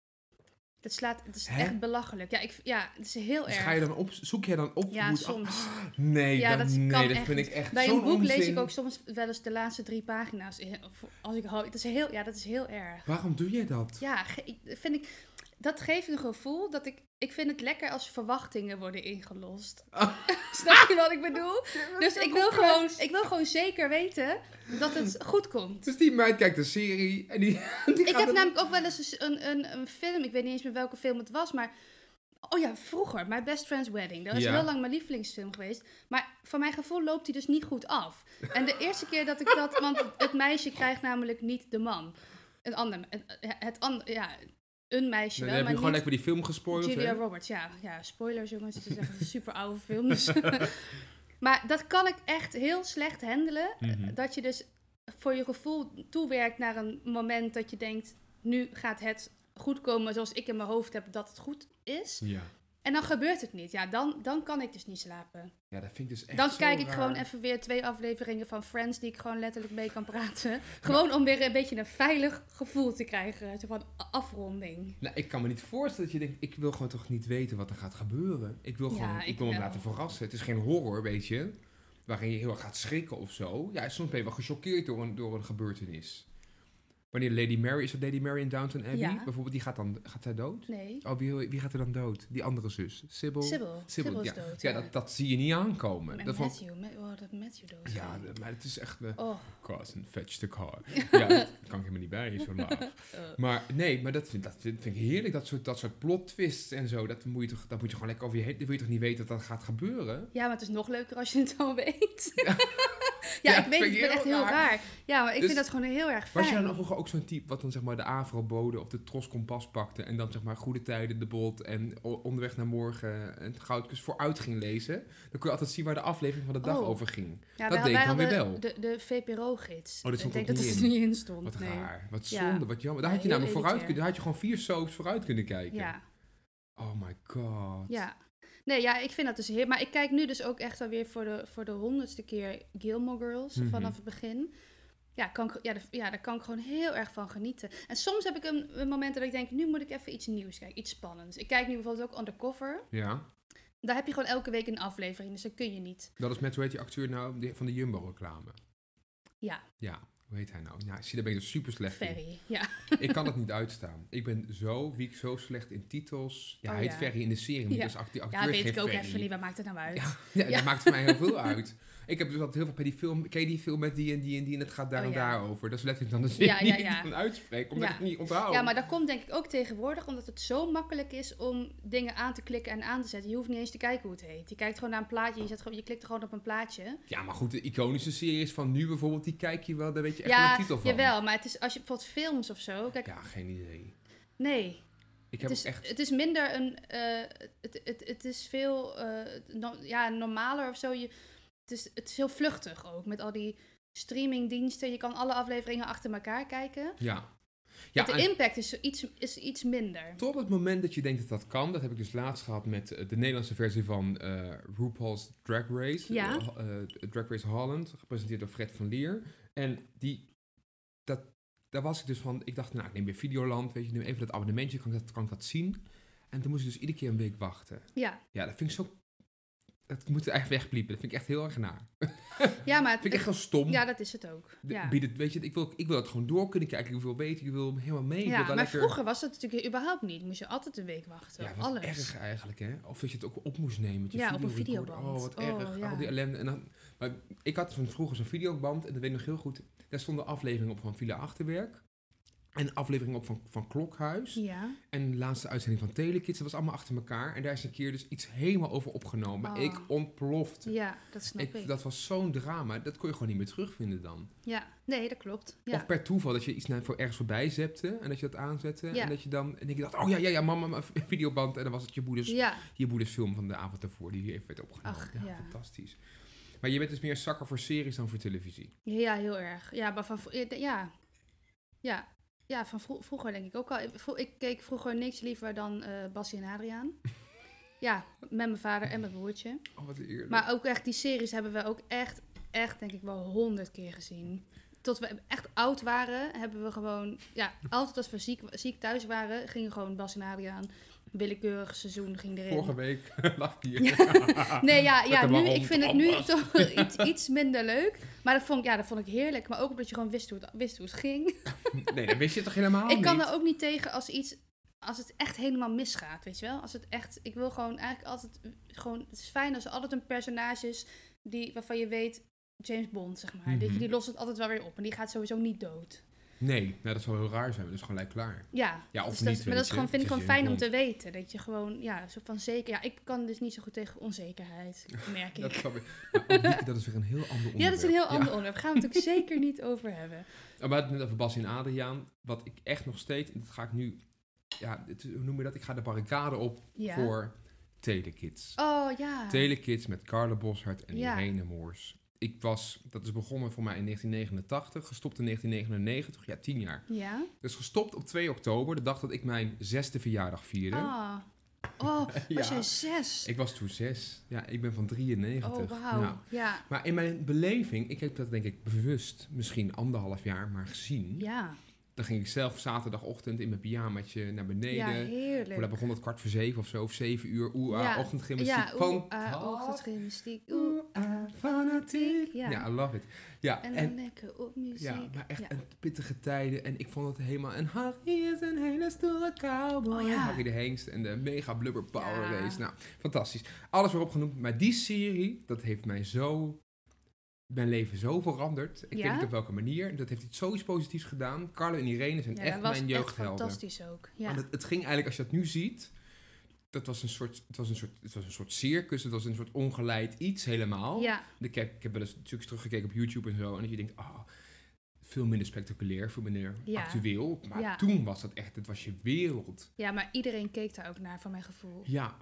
Speaker 1: Dat slaat, het is
Speaker 2: Hè?
Speaker 1: echt belachelijk. Ja, ik, ja, het is heel
Speaker 2: Dus
Speaker 1: erg.
Speaker 2: ga je dan op, zoek jij dan op
Speaker 1: ja,
Speaker 2: hoe het af-
Speaker 1: soms.
Speaker 2: Nee,
Speaker 1: Ja,
Speaker 2: dat,
Speaker 1: dat
Speaker 2: nee,
Speaker 1: kan
Speaker 2: dat
Speaker 1: echt
Speaker 2: vind
Speaker 1: niet.
Speaker 2: ik echt
Speaker 1: Bij een
Speaker 2: zo'n
Speaker 1: boek lees
Speaker 2: onzin.
Speaker 1: ik ook soms wel eens de laatste drie pagina's. in- of Als ik, ho- dat, is heel, ja, dat is heel erg.
Speaker 2: Waarom doe jij dat?
Speaker 1: Ja, ge- ik- vind ik, dat geeft een gevoel dat ik... Ik vind het lekker als verwachtingen worden ingelost. Snap je wat ik bedoel? Dus ik wil, gewoon, ik wil gewoon zeker weten dat het goed komt.
Speaker 2: Dus die meid kijkt een serie en die, die
Speaker 1: Ik
Speaker 2: gaat
Speaker 1: heb
Speaker 2: dan-
Speaker 1: namelijk ook wel eens een, een, een film, ik weet niet eens meer welke film het was, maar. Oh ja, vroeger, My Best Friend's Wedding. Dat is
Speaker 2: Ja.
Speaker 1: heel lang mijn lievelingsfilm geweest. Maar van mijn gevoel loopt die dus niet goed af. En de eerste keer dat ik dat. Want het meisje krijgt namelijk niet de man. Een ander. een- Het ander. Ja, een meisje
Speaker 2: Dan
Speaker 1: wel.
Speaker 2: heb je
Speaker 1: Maar
Speaker 2: gewoon
Speaker 1: niet
Speaker 2: lekker die film gespoild.
Speaker 1: Julia
Speaker 2: hè?
Speaker 1: Roberts, ja. Ja, spoilers jongens, het is echt een super oude film. dus- maar dat kan ik echt heel slecht handelen.
Speaker 2: Mhm.
Speaker 1: Dat je dus voor je gevoel toewerkt naar een moment dat je denkt... nu gaat het goed komen zoals ik in mijn hoofd heb dat het goed is.
Speaker 2: Ja.
Speaker 1: En dan gebeurt het niet. Ja, dan, dan kan ik dus niet slapen.
Speaker 2: ja, dat vind ik dus echt
Speaker 1: Dan
Speaker 2: zo
Speaker 1: kijk ik
Speaker 2: raar.
Speaker 1: gewoon even weer twee afleveringen van Friends... die ik gewoon letterlijk mee kan praten. Gewoon om weer een beetje een veilig gevoel te krijgen. Zo van afronding.
Speaker 2: Nou, ik kan me niet voorstellen dat je denkt, ik wil gewoon toch niet weten wat er gaat gebeuren. Ik wil
Speaker 1: Ja,
Speaker 2: gewoon, ik,
Speaker 1: ik
Speaker 2: wil me
Speaker 1: wel.
Speaker 2: laten verrassen. Het is geen horror, weet je, waarin je heel erg gaat schrikken of zo. Ja, soms ben je wel gechoqueerd door een, door een gebeurtenis. Wanneer Lady Mary, is dat Lady Mary in Downton Abbey?
Speaker 1: Ja.
Speaker 2: Bijvoorbeeld, die gaat dan, gaat zij dood?
Speaker 1: Nee.
Speaker 2: Oh, wie, wie gaat er dan dood? Die andere zus, Sybil?
Speaker 1: Sibyl.
Speaker 2: Oh, Sybil,
Speaker 1: Sibyl is
Speaker 2: ja.
Speaker 1: dood.
Speaker 2: Ja, dat, dat zie je niet aankomen.
Speaker 1: En
Speaker 2: dat vond-
Speaker 1: Matthew, Ma- oh, dat Matthew dood.
Speaker 2: ja, dat- maar het is echt... eh,
Speaker 1: Oh,
Speaker 2: Carson, fetch the car. ja, dat kan ik helemaal niet bij, zo laag.
Speaker 1: eh,
Speaker 2: Maar nee, maar dat vind, dat vind vind ik heerlijk. Dat soort, dat soort plot twists en zo. Dat moet je toch, dat moet je gewoon lekker over je heen. Dat wil je toch niet weten dat dat gaat gebeuren?
Speaker 1: Ja, maar het is nog leuker als je het al weet. Ja,
Speaker 2: Ja,
Speaker 1: ik weet
Speaker 2: vind
Speaker 1: het,
Speaker 2: ik
Speaker 1: ik ben
Speaker 2: heel
Speaker 1: echt heel
Speaker 2: raar.
Speaker 1: raar. Ja, maar ik
Speaker 2: Dus-
Speaker 1: vind dat gewoon heel erg fijn.
Speaker 2: Was jij dan vroeger ook zo'n type wat dan zeg maar de Avrobode of de Tros Kompas pakte en dan zeg maar Goede Tijden, De Bolt en O- Onderweg naar Morgen en Goudkus vooruit ging lezen? Dan kon je altijd zien waar de aflevering van de dag
Speaker 1: Oh.
Speaker 2: over ging.
Speaker 1: ja,
Speaker 2: dat
Speaker 1: wij-
Speaker 2: deed
Speaker 1: wij
Speaker 2: dan weer
Speaker 1: hadden
Speaker 2: wel.
Speaker 1: De, de VPRO-gids.
Speaker 2: Oh, dat
Speaker 1: ik
Speaker 2: stond
Speaker 1: denk
Speaker 2: ook
Speaker 1: dat het
Speaker 2: niet
Speaker 1: er niet in stond.
Speaker 2: Wat
Speaker 1: nee.
Speaker 2: raar, wat
Speaker 1: Ja.
Speaker 2: zonde, wat jammer. Daar
Speaker 1: Ja,
Speaker 2: had je
Speaker 1: heel
Speaker 2: namelijk vooruit
Speaker 1: elitair.
Speaker 2: kunnen, daar had je gewoon vier soaps vooruit kunnen kijken.
Speaker 1: Ja,
Speaker 2: Oh my god.
Speaker 1: ja. Nee, ja, ik vind dat dus heel... Maar ik kijk nu dus ook echt alweer voor de, voor de honderdste keer Gilmore Girls
Speaker 2: Mhm.
Speaker 1: vanaf het begin. Ja, kan, ik- ja, de- ja, daar kan ik gewoon heel erg van genieten. En soms heb ik een, een moment dat ik denk, nu moet ik even iets nieuws kijken, iets spannends. Ik kijk nu bijvoorbeeld ook Undercover.
Speaker 2: Ja,
Speaker 1: Daar heb je gewoon elke week een aflevering, dus dat kun je niet.
Speaker 2: dat is met, hoe heet die acteur nou, Die- van de Jumbo-reclame.
Speaker 1: Ja,
Speaker 2: Ja, hoe heet hij nou? Ja, zie, daar ben ik dus super slecht in.
Speaker 1: Ferry, ja.
Speaker 2: Ik kan dat niet uitstaan. Ik ben zo wiek, zo slecht in titels. Ja,
Speaker 1: Oh,
Speaker 2: hij heet
Speaker 1: ja.
Speaker 2: Ferry in de serie, maar
Speaker 1: Ja.
Speaker 2: dus act- die acteur
Speaker 1: Ja, weet
Speaker 2: geen
Speaker 1: ik ook
Speaker 2: Ferry.
Speaker 1: even niet. Waar maakt het nou uit?
Speaker 2: Ja, ja, dat
Speaker 1: Ja.
Speaker 2: maakt voor mij heel veel uit. Ik heb dus altijd heel veel bij die film... Ken je die film met die en die en die en het gaat daar
Speaker 1: Oh,
Speaker 2: en
Speaker 1: ja.
Speaker 2: daar over? Dat is letterlijk dan de zin
Speaker 1: Ja,
Speaker 2: die
Speaker 1: ja,
Speaker 2: ik
Speaker 1: ja.
Speaker 2: dan uitspreek, omdat
Speaker 1: Ja.
Speaker 2: ik het niet onthoud.
Speaker 1: Ja, maar dat komt denk ik ook tegenwoordig omdat het zo makkelijk is om dingen aan te klikken en aan te zetten. Je hoeft niet eens te kijken hoe het heet. Je kijkt gewoon naar een plaatje, je, zet gewoon, je klikt er gewoon op een plaatje.
Speaker 2: Ja, maar goed, de iconische series van nu bijvoorbeeld, die kijk je wel, daar weet je echt wel
Speaker 1: ja,
Speaker 2: de titel van.
Speaker 1: jawel, maar het is als je bijvoorbeeld films of zo. Kijk,
Speaker 2: Ja, geen idee.
Speaker 1: nee.
Speaker 2: Ik heb
Speaker 1: Het is,
Speaker 2: ook echt...
Speaker 1: het is minder een. eh, het, het, het is veel eh, no- ja, normaler of zo. Je, het, is, het is heel vluchtig ook met al die streamingdiensten. Je kan alle afleveringen achter elkaar kijken.
Speaker 2: Ja. ja en-
Speaker 1: de impact is, iets, is iets minder.
Speaker 2: Tot het moment dat je denkt dat dat kan, dat heb ik dus laatst gehad met eh, de Nederlandse versie van eh, RuPaul's Drag Race.
Speaker 1: Ja.
Speaker 2: eh, ho- eh, Drag Race Holland, gepresenteerd door Fred van Lier. En die, dat, daar was ik dus van, ik dacht, nou, ik neem weer Videoland, weet je, neem even dat abonnementje, kan ik dat, kan ik dat zien? En toen moest ik dus iedere keer een week wachten.
Speaker 1: Ja.
Speaker 2: Ja, dat vind ik zo... dat moet echt wegbliepen. Dat vind ik echt heel erg naar.
Speaker 1: Ja, maar
Speaker 2: Dat
Speaker 1: het-
Speaker 2: vind ik echt wel stom.
Speaker 1: ja, dat is het ook.
Speaker 2: De-
Speaker 1: Ja.
Speaker 2: Bied het, weet je, ik wil, ik wil dat gewoon door kunnen kijken. Ik wil weten, ik wil helemaal mee. Ik wil
Speaker 1: Ja,
Speaker 2: daar
Speaker 1: maar
Speaker 2: lekker...
Speaker 1: vroeger was dat natuurlijk überhaupt niet. Moest je altijd een week wachten.
Speaker 2: Ja,
Speaker 1: op
Speaker 2: wat
Speaker 1: alles.
Speaker 2: erg eigenlijk, hè? Of dat je het ook op moest nemen. Met je
Speaker 1: Ja, op een
Speaker 2: videorecorder.
Speaker 1: videoband.
Speaker 2: Oh, wat
Speaker 1: Oh,
Speaker 2: erg.
Speaker 1: ja.
Speaker 2: Al die ellende. En dan, maar ik had van vroeger zo'n videoband, en dat weet ik nog heel goed. Daar stonden afleveringen op van Villa Achterwerk. En afleveringen op van, van Klokhuis.
Speaker 1: Ja.
Speaker 2: En de laatste uitzending van Telekids. Dat was allemaal achter elkaar. En daar is een keer dus iets helemaal over opgenomen.
Speaker 1: Oh.
Speaker 2: Ik ontplofte.
Speaker 1: ja, dat snap ik.
Speaker 2: Ik, dat was zo'n drama. Dat kon je gewoon niet meer terugvinden dan.
Speaker 1: Ja, nee, dat klopt. Ja.
Speaker 2: Of per toeval dat je iets naar, voor ergens voorbij zette en dat je dat aanzette.
Speaker 1: Ja.
Speaker 2: En dat je dan en ik dacht, oh ja, ja, ja, mama, mijn videoband. En dan was het je moeders,
Speaker 1: ja,
Speaker 2: je moeders film van de avond daarvoor die even werd opgenomen.
Speaker 1: Ach,
Speaker 2: ja,
Speaker 1: ja.
Speaker 2: fantastisch. Maar je bent dus meer zakker voor series dan voor televisie.
Speaker 1: ja, heel erg. Ja, maar van vro- eh, ja. Ja. Ja, van vro- vroeger denk ik ook al. Ik, vro- ik keek vroeger niks liever dan eh Bassie en Adriaan. ja, met mijn vader en mijn broertje.
Speaker 2: Oh, wat eerlijk.
Speaker 1: Maar ook echt, die series hebben we ook echt, echt denk ik wel honderd keer gezien. Tot we echt oud waren, hebben we gewoon... Ja, altijd als we ziek, ziek thuis waren, gingen gewoon Bas en Adriaan. Willekeurig seizoen ging erin.
Speaker 2: Vorige week lag hier.
Speaker 1: Nee, ja, ja
Speaker 2: Lekker
Speaker 1: nu,
Speaker 2: waarom
Speaker 1: ik vind het
Speaker 2: het
Speaker 1: nu
Speaker 2: anders.
Speaker 1: toch iets, iets minder leuk. Maar dat vond, ik- ja, dat vond ik heerlijk. Maar ook omdat je gewoon wist hoe het, wist hoe het ging.
Speaker 2: Nee, dat wist je toch helemaal
Speaker 1: ik kan
Speaker 2: Oh, niet?
Speaker 1: er ook niet tegen als iets... Als het echt helemaal misgaat, weet je wel? Als het echt... Ik wil gewoon eigenlijk altijd... Gewoon, het is fijn als er altijd een personage is... Die, waarvan je weet... James Bond, zeg maar. Weet je,
Speaker 2: Mhm.
Speaker 1: die lost het altijd wel weer op. En die gaat sowieso niet dood.
Speaker 2: Nee, nou, dat zou heel raar zijn. Dat is gewoon gelijk klaar.
Speaker 1: Ja.
Speaker 2: Ja, of
Speaker 1: dus
Speaker 2: niet,
Speaker 1: dat,
Speaker 2: weet
Speaker 1: maar dat is
Speaker 2: je.
Speaker 1: gewoon, vind ik
Speaker 2: Het
Speaker 1: gewoon
Speaker 2: is
Speaker 1: fijn om
Speaker 2: James
Speaker 1: te weten. Dat je gewoon... Ja, zo van zeker... Ja, ik kan dus niet zo goed tegen onzekerheid. Merk ik.
Speaker 2: Dat, kan weer- Maar ook niet, dat is weer een heel ander onderwerp.
Speaker 1: Ja, dat is een heel
Speaker 2: Ja.
Speaker 1: ander onderwerp. Gaan we het ook zeker niet over hebben.
Speaker 2: Maar we hadden het net over Bas en Adriaan. Wat ik echt nog steeds, en dat ga ik nu, ja, het- hoe noem je dat? Ik ga de barricade op
Speaker 1: Ja.
Speaker 2: voor Telekids.
Speaker 1: Oh ja.
Speaker 2: Telekids met Carla Boshart en
Speaker 1: Ja.
Speaker 2: Irene Moors. Ik was, dat is begonnen voor mij in 1989, gestopt in 1999, ja, tien jaar.
Speaker 1: ja.
Speaker 2: Dus gestopt op 2 oktober, de dag dat ik mijn zesde verjaardag vierde.
Speaker 1: Ah. Oh, was
Speaker 2: Ja.
Speaker 1: jij zes?
Speaker 2: Ik was toen zes. Ja, ik ben van 93.
Speaker 1: oh, wauw.
Speaker 2: Ja.
Speaker 1: Ja.
Speaker 2: Maar in mijn beleving, ik heb dat denk ik bewust misschien anderhalf jaar maar gezien.
Speaker 1: Ja.
Speaker 2: Dan ging ik zelf zaterdagochtend in mijn pyjamaatje naar
Speaker 1: ja,
Speaker 2: beneden.
Speaker 1: heerlijk.
Speaker 2: Voor dat begon het kwart voor zeven of zo, of zeven uur. Oeh, ah,
Speaker 1: Ja.
Speaker 2: ochtendgymnastiek.
Speaker 1: ja, oeh, ah,
Speaker 2: Fantastisch.
Speaker 1: ochtendgymnastiek. Oeh.
Speaker 2: Oeh, ah, fanatiek.
Speaker 1: Ja.
Speaker 2: Ja. I love it. Ja,
Speaker 1: En
Speaker 2: en,
Speaker 1: dan lekker op muziek.
Speaker 2: ja maar echt
Speaker 1: Ja.
Speaker 2: een pittige tijden. En ik vond het helemaal... En Harry is een hele stoere cowboy.
Speaker 1: Oh, ja.
Speaker 2: Harry de Hengst en de mega blubber power
Speaker 1: Ja.
Speaker 2: race. Nou, fantastisch. Alles weer opgenoemd. Maar die serie, dat heeft mij zo... Mijn leven zo veranderd. Ik
Speaker 1: Ja?
Speaker 2: weet niet op welke manier. Dat heeft iets zoiets positiefs gedaan. Carlo en Irene zijn
Speaker 1: Ja,
Speaker 2: echt
Speaker 1: dat was
Speaker 2: mijn
Speaker 1: echt
Speaker 2: jeugdhelden.
Speaker 1: fantastisch ook. Ja.
Speaker 2: Want het, het ging eigenlijk, als je dat nu ziet, dat was een soort, het was een soort, het was een soort circus, het was een soort ongeleid iets helemaal.
Speaker 1: ja.
Speaker 2: Ik, heb, ik heb wel eens natuurlijk teruggekeken op YouTube en zo, en dat je denkt, ah, veel minder spectaculair, veel minder
Speaker 1: Ja.
Speaker 2: actueel. Maar
Speaker 1: Ja.
Speaker 2: toen was dat echt, het was je wereld.
Speaker 1: ja, maar iedereen keek daar ook naar, van mijn gevoel.
Speaker 2: Ja.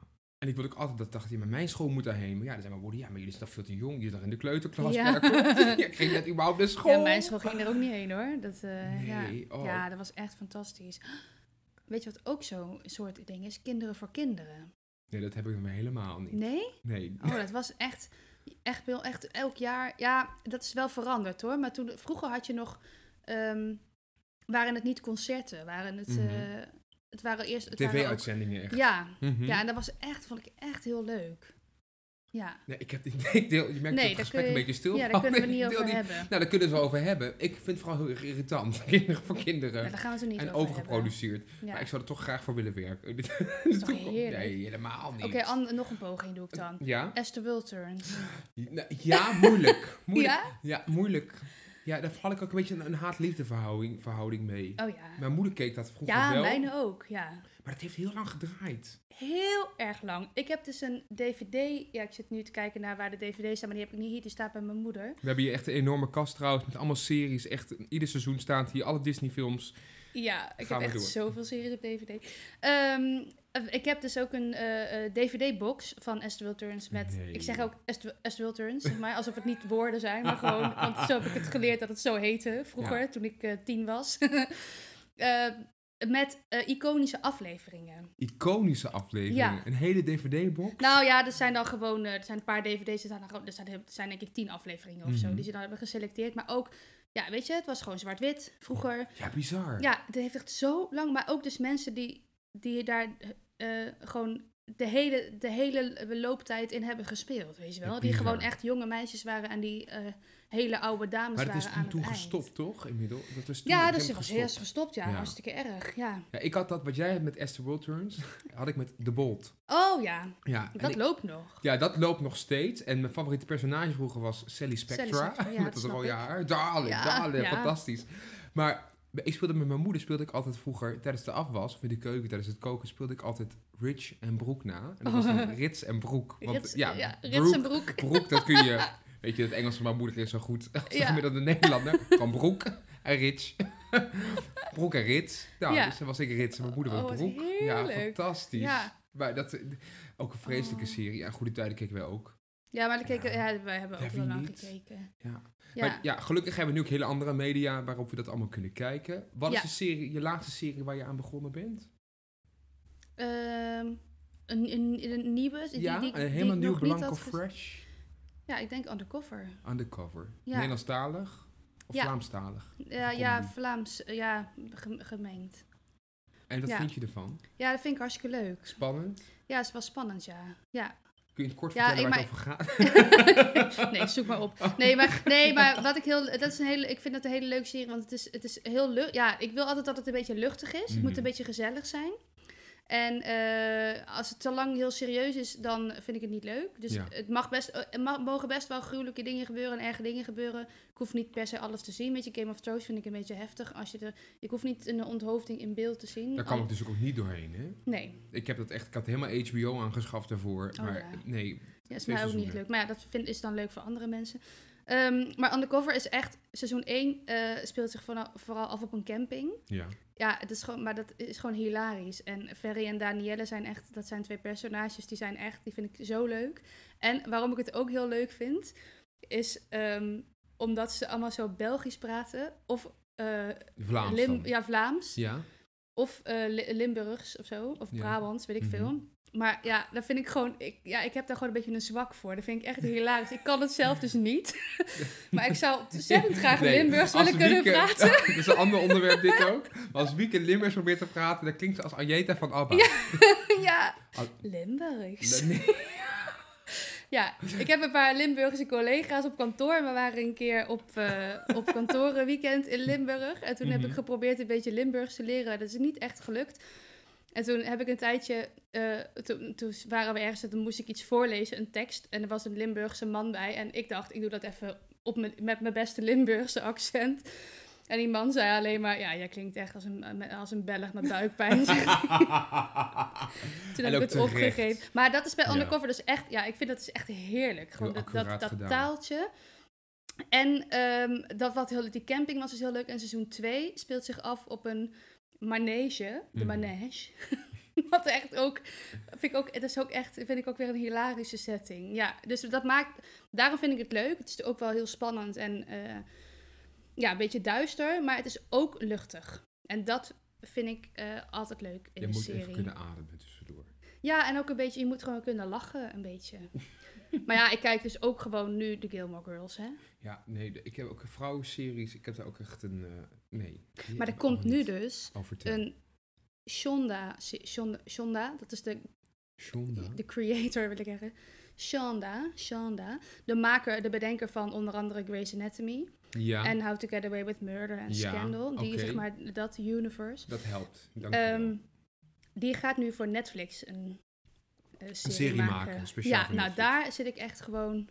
Speaker 2: En ik wilde ook altijd, dat dacht, ja, maar mijn school moet daarheen. Maar ja, dan zijn we woorden, ja, maar jullie zijn toch veel te jong, jullie zijn toch in de kleuterklas.
Speaker 1: Ja.
Speaker 2: Ja, dat klopt. Ja, ik ging net überhaupt naar school.
Speaker 1: Ja, mijn school ging er ook niet heen hoor. Dat, eh, ja.
Speaker 2: Nee, oh.
Speaker 1: ja, dat was echt fantastisch. Weet je wat ook zo'n soort ding is? Kinderen voor kinderen.
Speaker 2: Nee, dat heb ik me helemaal niet.
Speaker 1: Nee?
Speaker 2: Nee.
Speaker 1: Oh, dat was echt, echt, wel- echt elk jaar. Ja, dat is wel veranderd hoor. Maar toen, vroeger had je nog, ehm, waren het niet concerten, waren het,
Speaker 2: Mhm.
Speaker 1: eh, het waren eerst... het waren ook-
Speaker 2: TV-uitzendingen echt.
Speaker 1: Ja,
Speaker 2: Mhm.
Speaker 1: ja, en dat was echt, vond ik echt heel leuk. Ja,
Speaker 2: Nee, ik heb die, nee, ik deel, je
Speaker 1: Nee,
Speaker 2: merkt dat
Speaker 1: daar
Speaker 2: het gesprek
Speaker 1: kun je-
Speaker 2: een beetje stil
Speaker 1: ja daar
Speaker 2: valt.
Speaker 1: kunnen we
Speaker 2: Ik
Speaker 1: het niet
Speaker 2: deel
Speaker 1: over
Speaker 2: die-
Speaker 1: hebben.
Speaker 2: Nou, daar kunnen we het wel over hebben. Ik vind het vooral heel erg irritant. Kinderen voor kinderen.
Speaker 1: Ja, daar gaan we het er niet
Speaker 2: en
Speaker 1: over
Speaker 2: overgeproduceerd.
Speaker 1: hebben.
Speaker 2: Maar
Speaker 1: Ja.
Speaker 2: ik zou er toch graag voor willen werken.
Speaker 1: toch heerlijk?
Speaker 2: Nee, helemaal niet.
Speaker 1: Oké, an- nog een poging doe ik dan.
Speaker 2: ja?
Speaker 1: Esther Wilturns.
Speaker 2: Nou, ja, moeilijk. moeilijk. Ja?
Speaker 1: Ja?
Speaker 2: moeilijk. Ja, daar had ik ook een beetje een, een haat-liefde verhouding, verhouding mee.
Speaker 1: Oh ja.
Speaker 2: Mijn moeder keek dat vroeger
Speaker 1: Ja,
Speaker 2: wel.
Speaker 1: mijne ook, ja.
Speaker 2: Maar dat heeft heel lang gedraaid.
Speaker 1: heel erg lang. Ik heb dus een DVD. Ja, ik zit nu te kijken naar waar de DVD's staan, maar die heb ik niet hier. Die staat bij mijn moeder.
Speaker 2: We hebben hier echt een enorme kast trouwens met allemaal series. Echt, ieder seizoen staan hier alle Disney-films.
Speaker 1: Ja, ik
Speaker 2: Gaan we
Speaker 1: heb echt
Speaker 2: door.
Speaker 1: zoveel series op DVD. Ehm, ik heb dus ook een eh, eh, DVD-box van Esther Wilturns met...
Speaker 2: Nee.
Speaker 1: Ik zeg ook Esther Esther Wilturns, zeg maar, alsof het niet woorden zijn, maar gewoon... Want zo heb ik het geleerd dat het zo heette vroeger,
Speaker 2: Ja.
Speaker 1: toen ik eh, tien was. Eh, met eh, iconische afleveringen.
Speaker 2: Iconische afleveringen.
Speaker 1: Ja.
Speaker 2: Een hele DVD-box.
Speaker 1: Nou ja, er zijn dan gewoon, eh, er zijn een paar dvd's, er zijn, dan gewoon- er zijn, er zijn denk ik tien afleveringen of zo,
Speaker 2: Mhm.
Speaker 1: die ze dan hebben geselecteerd. Maar ook, ja, weet je, het was gewoon zwart-wit vroeger.
Speaker 2: Ja, bizar.
Speaker 1: Ja, dat heeft echt zo lang, maar ook dus mensen die, die daar eh, eh, gewoon de hele, de hele looptijd in hebben gespeeld, weet je wel.
Speaker 2: Ja,
Speaker 1: die
Speaker 2: bizar.
Speaker 1: gewoon echt jonge meisjes waren en die eh, hele oude dames
Speaker 2: Maar dat
Speaker 1: waren aan
Speaker 2: is toen,
Speaker 1: het
Speaker 2: toen
Speaker 1: eind.
Speaker 2: gestopt, toch? Inmiddels. Dat is toen op
Speaker 1: Ja,
Speaker 2: een
Speaker 1: dat is
Speaker 2: gegeven
Speaker 1: was
Speaker 2: moment
Speaker 1: eerst gestopt, ja.
Speaker 2: Ja.
Speaker 1: Hartstikke erg, ja.
Speaker 2: Ja, ik had dat, wat jij hebt met Esther World Turns, had ik met The Bolt.
Speaker 1: Oh ja,
Speaker 2: Ja, en
Speaker 1: dat
Speaker 2: ik-
Speaker 1: loopt nog.
Speaker 2: ja, dat loopt nog steeds. En mijn favoriete personage vroeger was Sally Spectra.
Speaker 1: Sally Spectra, ja,
Speaker 2: met
Speaker 1: dat
Speaker 2: dat
Speaker 1: snap
Speaker 2: rode
Speaker 1: ik.
Speaker 2: haar. Darling,
Speaker 1: Ja,
Speaker 2: darling,
Speaker 1: ja.
Speaker 2: fantastisch. Maar ik speelde met mijn moeder, speelde ik altijd vroeger tijdens de afwas, of in de keuken, tijdens het koken, speelde ik altijd Rich en Broek na. En dat was dan Rits en Broek. Want
Speaker 1: Oh. Rits,
Speaker 2: ja,
Speaker 1: ja, rits en
Speaker 2: broek,
Speaker 1: broek.
Speaker 2: broek, dat kun je... Weet je, het Engels van mijn moeder is zo goed als
Speaker 1: Ja.
Speaker 2: ja. dan de Nederlander. Van Broek en Rich. broek en Rits. Ja,
Speaker 1: Ja.
Speaker 2: dus dan was ik Rits en mijn moeder was
Speaker 1: Oh, wat
Speaker 2: Broek. Ja,
Speaker 1: heerlijk.
Speaker 2: fantastisch.
Speaker 1: Ja.
Speaker 2: Maar dat, ook een vreselijke
Speaker 1: Oh.
Speaker 2: serie. Ja, Goede Tijden keken wij ook.
Speaker 1: Ja, maar we keken,
Speaker 2: Ja.
Speaker 1: ja, wij hebben
Speaker 2: Ja,
Speaker 1: ook
Speaker 2: wie
Speaker 1: wel lang
Speaker 2: niet?
Speaker 1: gekeken.
Speaker 2: Ja.
Speaker 1: Ja.
Speaker 2: Maar ja, gelukkig hebben we nu ook hele andere media waarop we dat allemaal kunnen kijken. Wat is
Speaker 1: Ja.
Speaker 2: de serie, je laatste serie waar je aan begonnen bent?
Speaker 1: Ehm, een, een, een nieuwe, die,
Speaker 2: ja,
Speaker 1: die, die
Speaker 2: een
Speaker 1: ik
Speaker 2: helemaal
Speaker 1: nog
Speaker 2: nieuw,
Speaker 1: niet
Speaker 2: blanco,
Speaker 1: had gez-
Speaker 2: fresh,
Speaker 1: Ja, ik denk Undercover.
Speaker 2: undercover.
Speaker 1: Ja.
Speaker 2: Nederlandstalig of
Speaker 1: Ja.
Speaker 2: Vlaamstalig?
Speaker 1: Ja,
Speaker 2: Of
Speaker 1: ja
Speaker 2: comedy.
Speaker 1: Vlaams, eh, ja, gem- gemengd.
Speaker 2: En wat
Speaker 1: Ja.
Speaker 2: vind je ervan?
Speaker 1: Ja, dat vind ik hartstikke leuk.
Speaker 2: Spannend?
Speaker 1: Ja, het is wel spannend, ja. ja.
Speaker 2: Kun je in het kort
Speaker 1: Ja,
Speaker 2: vertellen
Speaker 1: ik
Speaker 2: waar het over gaat?
Speaker 1: nee, zoek maar op. Nee, maar, nee, maar wat ik heel. Dat is een hele, ik vind dat een hele leuke serie, want het is, het is heel lucht. Ja, ik wil altijd dat het een beetje luchtig is. Het moet
Speaker 2: Mhm.
Speaker 1: een beetje gezellig zijn. En eh, als het te lang heel serieus is, dan vind ik het niet leuk. Dus
Speaker 2: Ja.
Speaker 1: het mag best, eh, er ma- mogen best wel gruwelijke dingen gebeuren en erge dingen gebeuren. Ik hoef niet per se alles te zien. Met je Game of Thrones vind ik een beetje heftig. Als je er, ik hoef niet een onthoofding in beeld te zien.
Speaker 2: Daar kwam ik dus ook niet doorheen, hè?
Speaker 1: Nee,
Speaker 2: Ik heb dat echt, ik had helemaal HBO aangeschaft daarvoor.
Speaker 1: Oh,
Speaker 2: maar
Speaker 1: ja.
Speaker 2: nee,
Speaker 1: ja, is
Speaker 2: Twee
Speaker 1: mij ook niet
Speaker 2: seizoenen.
Speaker 1: leuk. Maar ja, dat vind, is dan leuk voor andere mensen. Ehm, maar Undercover is echt... Seizoen 1 speelt zich vooral, vooral af op een camping.
Speaker 2: ja.
Speaker 1: Ja, het is gewoon, maar dat is gewoon hilarisch. En Ferry en Danielle zijn echt... Dat zijn twee personages, die zijn echt... Die vind ik zo leuk. En waarom ik het ook heel leuk vind... Is ehm, omdat ze allemaal zo Belgisch praten. Of eh,
Speaker 2: Vlaams
Speaker 1: Lim-
Speaker 2: dan.
Speaker 1: ja, Vlaams.
Speaker 2: Ja.
Speaker 1: Of eh, Li- Limburgs of zo. Of
Speaker 2: Ja.
Speaker 1: Brabants, weet ik
Speaker 2: Mhm.
Speaker 1: veel. Maar ja, dat vind ik gewoon... Ik, ja, ik heb daar gewoon een beetje een zwak voor. Dat vind ik echt hilarisch. Ik kan het zelf dus niet. maar ik zou ontzettend graag
Speaker 2: Nee,
Speaker 1: Limburgs
Speaker 2: als
Speaker 1: willen kunnen
Speaker 2: Wieke-
Speaker 1: praten.
Speaker 2: dat is een ander onderwerp dit ook. Maar als Wieke Limmers probeert te praten, dan klinkt ze als Ajeta van ABBA.
Speaker 1: ja.
Speaker 2: Al-
Speaker 1: Limburgs.
Speaker 2: Nee,
Speaker 1: Ja, ik heb een paar Limburgse collega's op kantoor. We waren een keer op, eh op kantorenweekend in Limburg. En toen heb
Speaker 2: Mhm.
Speaker 1: ik geprobeerd een beetje Limburgs te leren. Dat is niet echt gelukt. En toen heb ik een tijdje, eh, toen, toen waren we ergens en toen moest ik iets voorlezen, een tekst. En er was een Limburgse man bij. En ik dacht, ik doe dat even op mijn- met mijn beste Limburgse accent. En die man zei alleen maar, ja, jij klinkt echt als een, als een Belg met buikpijn. Toen heb
Speaker 2: En
Speaker 1: ik
Speaker 2: ook
Speaker 1: het
Speaker 2: terecht.
Speaker 1: opgegeven. Maar dat is bij
Speaker 2: Ja.
Speaker 1: Undercover dus echt... Ja, ik vind dat is echt heerlijk. Gewoon
Speaker 2: Heel
Speaker 1: dat, dat,
Speaker 2: accuraat
Speaker 1: dat
Speaker 2: gedaan.
Speaker 1: taaltje. En ehm, dat wat heel, die camping was dus heel leuk. En seizoen 2 speelt zich af op een manege. De
Speaker 2: Mhm.
Speaker 1: manege. wat echt ook... Vind ik ook, dat is ook echt, vind ik ook weer een hilarische setting. Ja, dus dat maakt... Daarom vind ik het leuk. Het is ook wel heel spannend en... eh, ja, een beetje duister, maar het is ook luchtig. En dat vind ik eh, altijd leuk in
Speaker 2: je
Speaker 1: een
Speaker 2: moet
Speaker 1: serie.
Speaker 2: even kunnen ademen tussendoor.
Speaker 1: Ja, en ook een beetje, je moet gewoon kunnen lachen, een beetje. maar ja, ik kijk dus ook gewoon nu de Gilmore Girls, hè.
Speaker 2: Ja, nee, de- ik heb ook een vrouwenseries. Ik heb daar ook echt een... eh, nee.
Speaker 1: Maar
Speaker 2: Die heb
Speaker 1: er
Speaker 2: ik
Speaker 1: komt
Speaker 2: allemaal
Speaker 1: nu
Speaker 2: niet.
Speaker 1: dus
Speaker 2: Oh, vertel.
Speaker 1: een Shonda, se- Shonda, Shonda, dat is de,
Speaker 2: Shonda.
Speaker 1: de creator, wil ik zeggen. Shonda, Shonda, de maker, de bedenker van onder andere Grey's Anatomy
Speaker 2: Ja,
Speaker 1: en How to Get Away with Murder en
Speaker 2: Ja,
Speaker 1: Scandal. Die,
Speaker 2: oké.
Speaker 1: zeg maar, dat universe.
Speaker 2: dat helpt. Dank je wel.
Speaker 1: Ehm, die gaat nu voor Netflix een, eh, serie,
Speaker 2: serie
Speaker 1: maken.
Speaker 2: maken, speciaal
Speaker 1: ja,
Speaker 2: voor
Speaker 1: nou
Speaker 2: Netflix.
Speaker 1: daar zit ik echt gewoon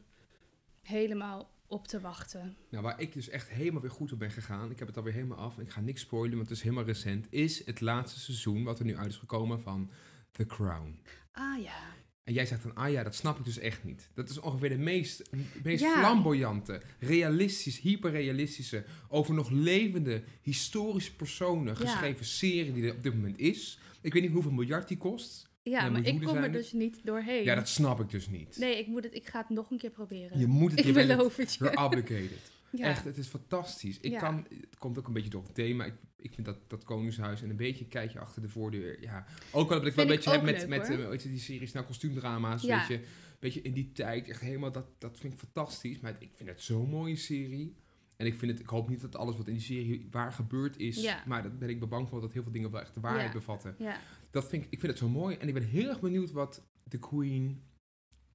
Speaker 1: helemaal op te wachten.
Speaker 2: Nou, waar ik dus echt helemaal weer goed op ben gegaan, ik heb het alweer helemaal af en ik ga niks spoilen, want het is helemaal recent, is het laatste seizoen wat er nu uit is gekomen van The Crown.
Speaker 1: Ah ja.
Speaker 2: En jij zegt dan, ah ja, dat snap ik dus echt niet. Dat is ongeveer de meest, meest
Speaker 1: Ja.
Speaker 2: flamboyante, realistisch, hyperrealistische, over nog levende, historische personen
Speaker 1: Ja.
Speaker 2: geschreven serie die er op dit moment is. Ik weet niet hoeveel miljard die kost.
Speaker 1: Ja,
Speaker 2: Nee,
Speaker 1: maar ik
Speaker 2: miljoenen
Speaker 1: kom er
Speaker 2: zijn
Speaker 1: dus niet doorheen.
Speaker 2: Ja, dat snap ik dus niet.
Speaker 1: Nee, ik, moet het, ik ga het nog een keer proberen.
Speaker 2: Je moet het je
Speaker 1: ik
Speaker 2: bent het-
Speaker 1: beloof het
Speaker 2: You're
Speaker 1: je.
Speaker 2: obligated.
Speaker 1: Ja.
Speaker 2: Echt, het is fantastisch. Ik
Speaker 1: Ja.
Speaker 2: kan, het komt ook een beetje door het thema. Ik, ik vind dat, dat Koningshuis en een beetje een kijkje achter de voordeur. Ja. Ook wel dat ik wel
Speaker 1: Vind
Speaker 2: een
Speaker 1: ik
Speaker 2: beetje heb
Speaker 1: ook
Speaker 2: met,
Speaker 1: leuk,
Speaker 2: met
Speaker 1: hoor.
Speaker 2: eh, weet je, die series, nou kostuumdrama's.
Speaker 1: Ja.
Speaker 2: Weet, je, weet je, in die tijd. Echt helemaal, dat, dat vind ik fantastisch. Maar ik vind het zo'n mooie serie. En ik, vind het, ik hoop niet dat alles wat in die serie waar gebeurd is.
Speaker 1: Ja.
Speaker 2: Maar dat ben ik bang voor dat heel veel dingen wel echt de waarheid
Speaker 1: Ja.
Speaker 2: bevatten.
Speaker 1: Ja.
Speaker 2: Dat dat vind ik, ik vind het zo mooi. En ik ben heel erg benieuwd wat de Queen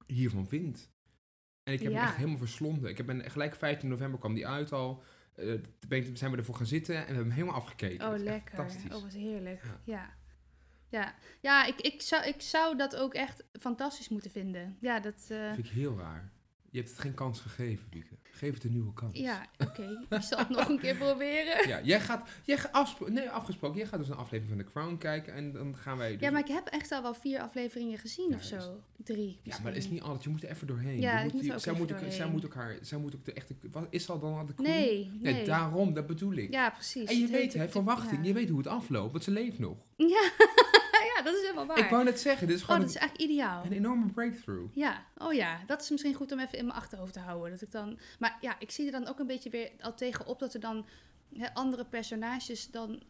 Speaker 2: hiervan vindt. En ik heb me
Speaker 1: Ja.
Speaker 2: echt helemaal verslonden. Ik heb ben, gelijk 15 november kwam die uit al. Eh, Toen ben ik- zijn we ervoor gaan zitten en we hebben hem helemaal afgekeken.
Speaker 1: Oh,
Speaker 2: Dat is echt
Speaker 1: lekker.
Speaker 2: Fantastisch.
Speaker 1: Oh, wat heerlijk.
Speaker 2: Ja.
Speaker 1: Ja. Ja, ja. ik, ik, zou, ik zou dat ook echt fantastisch moeten vinden. Ja, dat... eh,
Speaker 2: Dat vind ik heel raar. Je hebt het geen kans gegeven, Wieke. Geef het een nieuwe kans.
Speaker 1: ja, oké. Ik zal het nog een keer proberen.
Speaker 2: Ja, jij gaat, jij gaat afspro- nee, afgesproken, jij gaat dus een aflevering van The Crown kijken en dan gaan wij... dus-
Speaker 1: Ja, maar ik heb echt al wel vier afleveringen gezien
Speaker 2: Ja,
Speaker 1: of
Speaker 2: dat is-
Speaker 1: zo. Drie.
Speaker 2: Ja, maar dat is niet altijd. Je moet er even doorheen.
Speaker 1: Ja,
Speaker 2: Je
Speaker 1: ik
Speaker 2: moet
Speaker 1: moet er
Speaker 2: die-
Speaker 1: ook
Speaker 2: zij,
Speaker 1: even
Speaker 2: moet ook, zij
Speaker 1: doorheen.
Speaker 2: moet ook haar... Zij moet ook de echte... Wat is al dan aan de queen?
Speaker 1: Nee,
Speaker 2: Nee,
Speaker 1: nee.
Speaker 2: daarom. Dat bedoel ik.
Speaker 1: Ja, precies.
Speaker 2: en je
Speaker 1: Het heet
Speaker 2: weet, hè,
Speaker 1: natuurlijk-
Speaker 2: verwachting.
Speaker 1: ja.
Speaker 2: Je weet hoe het afloopt, want ze leeft nog.
Speaker 1: Ja. ja, dat is helemaal waar.
Speaker 2: Ik wou net zeggen, dit is
Speaker 1: Oh,
Speaker 2: gewoon
Speaker 1: dat is eigenlijk ideaal.
Speaker 2: een, een enorme breakthrough.
Speaker 1: Ja, oh ja, dat is misschien goed om even in mijn achterhoofd te houden. Dat ik dan, maar ja, ik zie er dan ook een beetje weer al tegenop dat er dan hè, andere personages dan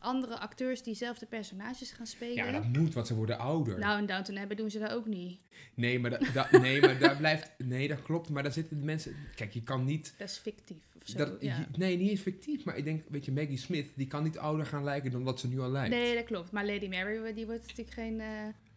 Speaker 1: andere acteurs diezelfde personages gaan spelen.
Speaker 2: Ja, maar dat moet, want ze worden ouder.
Speaker 1: Nou, in Downton Abbey doen ze dat ook niet.
Speaker 2: Nee, maar, da- da- nee, maar daar blijft... Nee, dat klopt. Maar daar zitten de mensen... Kijk, je kan niet...
Speaker 1: Dat is fictief of zo.
Speaker 2: Dat,
Speaker 1: ja.
Speaker 2: je- nee, niet eens fictief. Maar ik denk, weet je, Maggie Smith, die kan niet ouder gaan lijken dan dat ze nu al lijkt.
Speaker 1: Nee, dat klopt. Maar Lady Mary, die wordt natuurlijk geen... eh,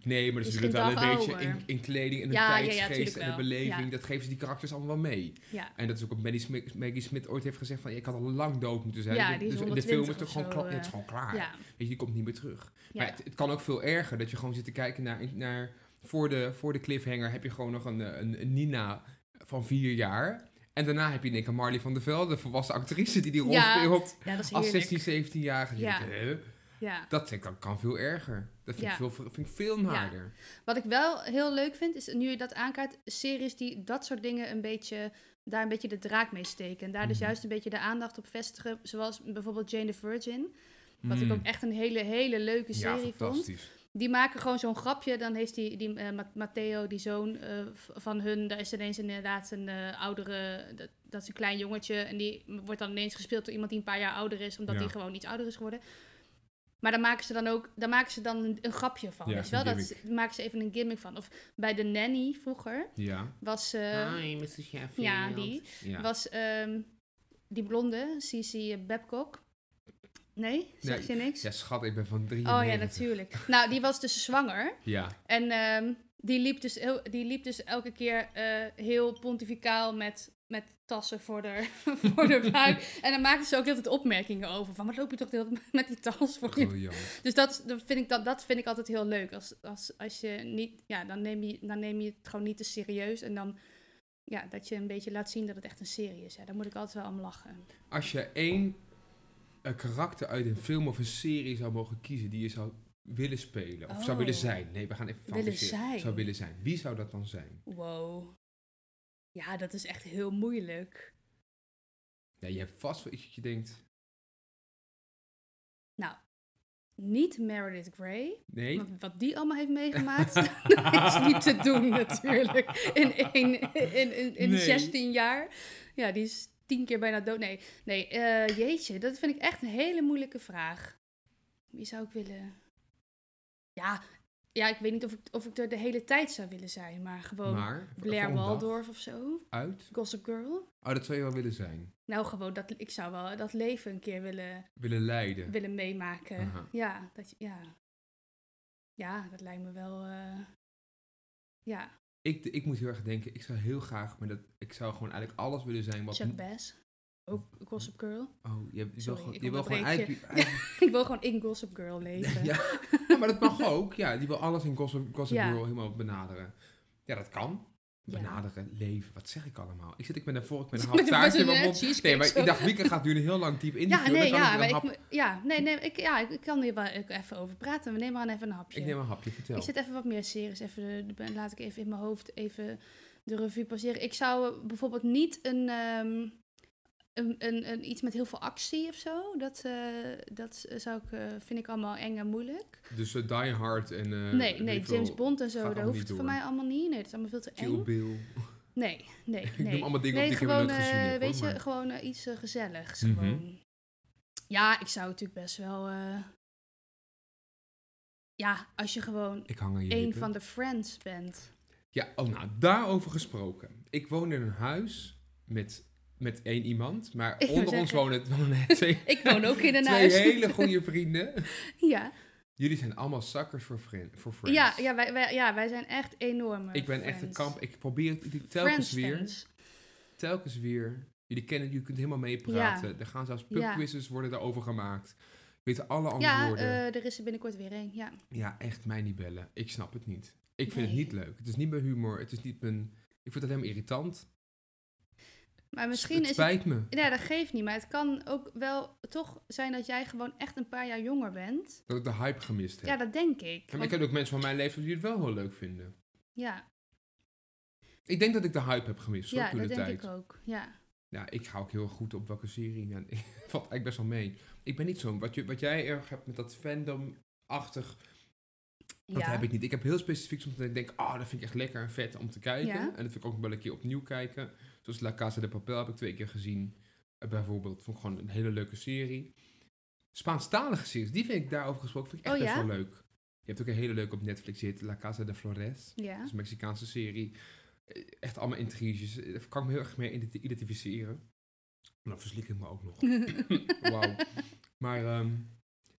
Speaker 2: Nee, maar dat
Speaker 1: Is
Speaker 2: is
Speaker 1: geen
Speaker 2: natuurlijk wel een
Speaker 1: dag
Speaker 2: beetje
Speaker 1: ouder.
Speaker 2: in, in kleding en de
Speaker 1: Ja, ja, ja,
Speaker 2: tijdsgeest
Speaker 1: tuurlijk
Speaker 2: en de
Speaker 1: wel.
Speaker 2: beleving.
Speaker 1: Ja.
Speaker 2: Dat geven ze die karakters allemaal wel mee.
Speaker 1: ja.
Speaker 2: En dat is ook wat Maggie Smith, Maggie Smith ooit heeft gezegd van... "Ja, Ik had al lang dood moeten zijn.
Speaker 1: Ja,
Speaker 2: Dus-
Speaker 1: die is
Speaker 2: dus in de film is het
Speaker 1: 120
Speaker 2: ook gewoon,
Speaker 1: of
Speaker 2: kla-
Speaker 1: zo,
Speaker 2: ja, het is
Speaker 1: eh.
Speaker 2: gewoon klaar.
Speaker 1: Ja,
Speaker 2: Weet je, die komt niet meer terug.
Speaker 1: ja.
Speaker 2: Maar het, het kan ook veel erger. Dat je gewoon zit te kijken naar... naar voor, de, voor de cliffhanger heb je gewoon nog een, eh, een, een Nina van vier jaar. En daarna heb je in één keer Marley van der Velde, volwassen actrice... die die rol
Speaker 1: Ja,
Speaker 2: speelt
Speaker 1: ja, dat is
Speaker 2: als
Speaker 1: heerlijk.
Speaker 2: 16, 17-jarige.
Speaker 1: Ja.
Speaker 2: Ja.
Speaker 1: Ja.
Speaker 2: Dat kan, kan veel erger. Dat vind,
Speaker 1: Ja.
Speaker 2: ik, veel, vind ik veel naarder.
Speaker 1: Wat ik wel heel leuk vind, is nu je dat aankaart, series die dat soort dingen een beetje, daar een beetje de draak mee steken. En daar dus
Speaker 2: Mhm.
Speaker 1: juist een beetje de aandacht op vestigen, zoals bijvoorbeeld Jane the Virgin. Wat
Speaker 2: Mm.
Speaker 1: ik ook echt een hele, hele leuke serie vond. Die maken gewoon zo'n grapje. Dan heeft die, die eh, Ma- Matteo, die zoon eh, v- van hun, daar is ineens inderdaad een eh, oudere, dat, dat is een klein jongetje. En die wordt dan ineens gespeeld door iemand die een paar jaar ouder is, omdat
Speaker 2: Ja.
Speaker 1: die gewoon iets ouder is geworden. Maar dan maken ze dan ook, daar maken ze dan een, een grapje van.
Speaker 2: Ja,
Speaker 1: weet je wel?
Speaker 2: een
Speaker 1: Dat is- daar maken ze even een gimmick van. Of bij de nanny vroeger
Speaker 2: Ah, Ja.
Speaker 1: was, eh,
Speaker 2: Hi, Mr. Sheffield.
Speaker 1: ja, die,
Speaker 2: Ja.
Speaker 1: was ehm, die blonde, Cici Babcock. Nee, zeg
Speaker 2: Nee.
Speaker 1: je niks?
Speaker 2: Ja, schat, ik ben van drie.
Speaker 1: oh ja, natuurlijk. nou, die was dus zwanger.
Speaker 2: Ja.
Speaker 1: En ehm, die, liep dus heel, die liep dus elke keer eh, heel pontificaal met, met tassen voor de, voor de buik. En daar maakten ze ook heel veel opmerkingen over. Van, wat loop je toch de hele tijd met die tas voor je?
Speaker 2: Briljant.
Speaker 1: Dus dat, is- dat, vind ik, dat, dat vind ik altijd heel leuk. Als, als, als je niet, ja, dan neem je, dan neem je het gewoon niet te serieus. En dan, ja, dat je een beetje laat zien dat het echt een serie is. Ja, daar moet ik altijd wel om lachen.
Speaker 2: Als je één eh, karakter uit een film of een serie zou mogen kiezen die je zou willen spelen. Of zou
Speaker 1: Oh.
Speaker 2: willen zijn. Nee, we gaan even
Speaker 1: Willen
Speaker 2: fantaseren.
Speaker 1: zijn.
Speaker 2: Zou willen zijn. Wie zou dat dan zijn?
Speaker 1: Wow. Ja, dat is echt heel moeilijk.
Speaker 2: Ja, je hebt vast wel iets dat je denkt...
Speaker 1: Niet Meredith Grey.
Speaker 2: Nee?
Speaker 1: Wat, wat die allemaal heeft meegemaakt, dat is niet te doen natuurlijk. In, één- in, in, in
Speaker 2: Nee.
Speaker 1: 16 jaar. Ja, die is tien keer bijna dood. Nee, nee eh, jeetje, dat vind ik echt een hele moeilijke vraag. Wie zou ik willen? Ja, ja ik weet niet of ik, of ik er de hele tijd zou willen zijn, maar gewoon
Speaker 2: maar... voor- voor
Speaker 1: Blair
Speaker 2: een dag
Speaker 1: Waldorf of zo.
Speaker 2: Uit?
Speaker 1: Gossip Girl.
Speaker 2: Oh, dat zou je wel willen zijn.
Speaker 1: Nou, gewoon dat ik zou wel dat leven een keer willen,
Speaker 2: Willen leiden.
Speaker 1: willen meemaken.
Speaker 2: Aha.
Speaker 1: Ja, dat, je- ja. ja, dat lijkt me wel. eh, ja.
Speaker 2: Ik, ik moet heel erg denken, ik zou heel graag... Maar dat, ik zou gewoon eigenlijk alles willen zijn wat...
Speaker 1: Chuck Bass. Ook Gossip Girl.
Speaker 2: Oh, je, je wil
Speaker 1: Sorry,
Speaker 2: gewoon,
Speaker 1: ik
Speaker 2: je wil gewoon
Speaker 1: onderbreek
Speaker 2: uit- uit-
Speaker 1: ik wil gewoon in Gossip Girl leven.
Speaker 2: Ja, Ja, maar dat mag ook. Ja, die wil alles in Gossip, Gossip
Speaker 1: Ja.
Speaker 2: Girl helemaal benaderen. Ja, dat kan.
Speaker 1: Ja.
Speaker 2: Benaderen, leven, wat zeg ik allemaal? Ik zit, ik ben daarvoor, ik ben een
Speaker 1: Met
Speaker 2: half
Speaker 1: een
Speaker 2: taartje in mijn
Speaker 1: verse,
Speaker 2: mond.
Speaker 1: eh,
Speaker 2: Nee, maar ik
Speaker 1: cheesecake
Speaker 2: dacht, Wieke gaat nu een heel lang diep in.
Speaker 1: Ja,
Speaker 2: die film,
Speaker 1: nee,
Speaker 2: dan kan
Speaker 1: ja,
Speaker 2: ik
Speaker 1: maar
Speaker 2: weer
Speaker 1: ik,
Speaker 2: een hap-
Speaker 1: mo- ja, nee, nee, ik, ja, ik, ik kan hier wel ook even over praten. We nemen aan even een hapje.
Speaker 2: ik neem een hapje, vertel.
Speaker 1: Ik zet even wat meer series. Even de- de- laat ik even in mijn hoofd even de revue passeren. Ik zou eh, bijvoorbeeld niet een, ehm, een, een, een iets met heel veel actie of zo. Dat, eh, dat zou ik, eh, vind ik allemaal eng en moeilijk.
Speaker 2: Dus eh, Die Hard en... eh,
Speaker 1: nee,
Speaker 2: weet
Speaker 1: nee,
Speaker 2: ik veel,
Speaker 1: James Bond en
Speaker 2: gaat
Speaker 1: zo, dat
Speaker 2: allemaal
Speaker 1: hoeft
Speaker 2: niet
Speaker 1: voor
Speaker 2: door.
Speaker 1: mij allemaal niet. Nee, dat is allemaal veel te eng.
Speaker 2: Kill Bill.
Speaker 1: Nee, nee,
Speaker 2: Ik
Speaker 1: nee.
Speaker 2: noem allemaal dingen op
Speaker 1: nee,
Speaker 2: die ik
Speaker 1: gewoon,
Speaker 2: helemaal nooit gezien
Speaker 1: eh,
Speaker 2: heb, hoor,
Speaker 1: weet je,
Speaker 2: maar-
Speaker 1: gewoon eh, iets eh, gezelligs.
Speaker 2: Mhm.
Speaker 1: Gewoon. Ja, ik zou natuurlijk best wel. eh, Ja, als je gewoon
Speaker 2: Ik hang aan je
Speaker 1: één
Speaker 2: lippen.
Speaker 1: van de friends bent.
Speaker 2: Ja, oh, nou, daarover gesproken. Ik woon in een huis met, met één iemand, maar
Speaker 1: wou
Speaker 2: onder ons
Speaker 1: zeggen.
Speaker 2: wonen wonen twee,
Speaker 1: Ik woon ook in een
Speaker 2: twee
Speaker 1: huis.
Speaker 2: hele goede vrienden.
Speaker 1: Ja,
Speaker 2: Jullie zijn allemaal suckers voor, friend, voor Friends.
Speaker 1: Ja, ja, wij, wij, ja, wij zijn echt enorme
Speaker 2: ik ben echt een
Speaker 1: Friends-
Speaker 2: kamp. Ik probeer het telkens
Speaker 1: Friends
Speaker 2: weer.
Speaker 1: fans.
Speaker 2: Telkens weer. Jullie kennen, jullie kunt helemaal meepraten. Er gaan zelfs
Speaker 1: Ja.
Speaker 2: pubquizzes worden daarover gemaakt. Weten alle
Speaker 1: Ja,
Speaker 2: antwoorden.
Speaker 1: eh, er is er binnenkort weer een. Ja.
Speaker 2: Ja, echt mij niet bellen. Ik snap het niet. Ik vind
Speaker 1: Nee.
Speaker 2: het niet leuk. Het is niet mijn humor. Het is niet mijn. Ik vind het helemaal irritant.
Speaker 1: Maar misschien
Speaker 2: het
Speaker 1: is het...
Speaker 2: spijt me.
Speaker 1: Nee, dat geeft niet. Maar het kan ook wel toch zijn dat jij gewoon echt een paar jaar jonger bent.
Speaker 2: Dat ik de hype gemist heb.
Speaker 1: Ja, dat denk ik.
Speaker 2: En
Speaker 1: Want-
Speaker 2: ik heb ook mensen van mijn leeftijd die het wel heel leuk vinden.
Speaker 1: ja,
Speaker 2: Ik denk dat ik de hype heb gemist hoor,
Speaker 1: ja
Speaker 2: toen
Speaker 1: dat
Speaker 2: de
Speaker 1: denk
Speaker 2: tijd.
Speaker 1: ik ook. Ja.
Speaker 2: Ja, ik ga ook heel goed op welke serie. Ja, ik valt eigenlijk best wel mee. Ik ben niet zo'n... Wat, je- wat jij erg hebt met dat fandom-achtig, dat
Speaker 1: ja.
Speaker 2: heb ik niet. Ik heb heel specifiek soms dat ik denk... Oh, dat vind ik echt lekker en vet om te kijken.
Speaker 1: Ja.
Speaker 2: En dat vind ik ook wel een keer opnieuw kijken. Zoals La Casa de Papel heb ik twee keer gezien. Eh, Bijvoorbeeld, vond ik gewoon een hele leuke serie. Spaanstalige series, die vind ik daarover gesproken vind ik echt
Speaker 1: Oh,
Speaker 2: best
Speaker 1: ja?
Speaker 2: wel leuk. Je hebt ook een hele leuke op Netflix zitten, La Casa de Flores.
Speaker 1: Ja.
Speaker 2: Dat is een Dus Mexicaanse serie. Eh, Echt allemaal intriges. Eh, Daar kan ik me heel erg mee identi- identificeren. Dan verslik ik me ook nog. Wauw. Maar ehm,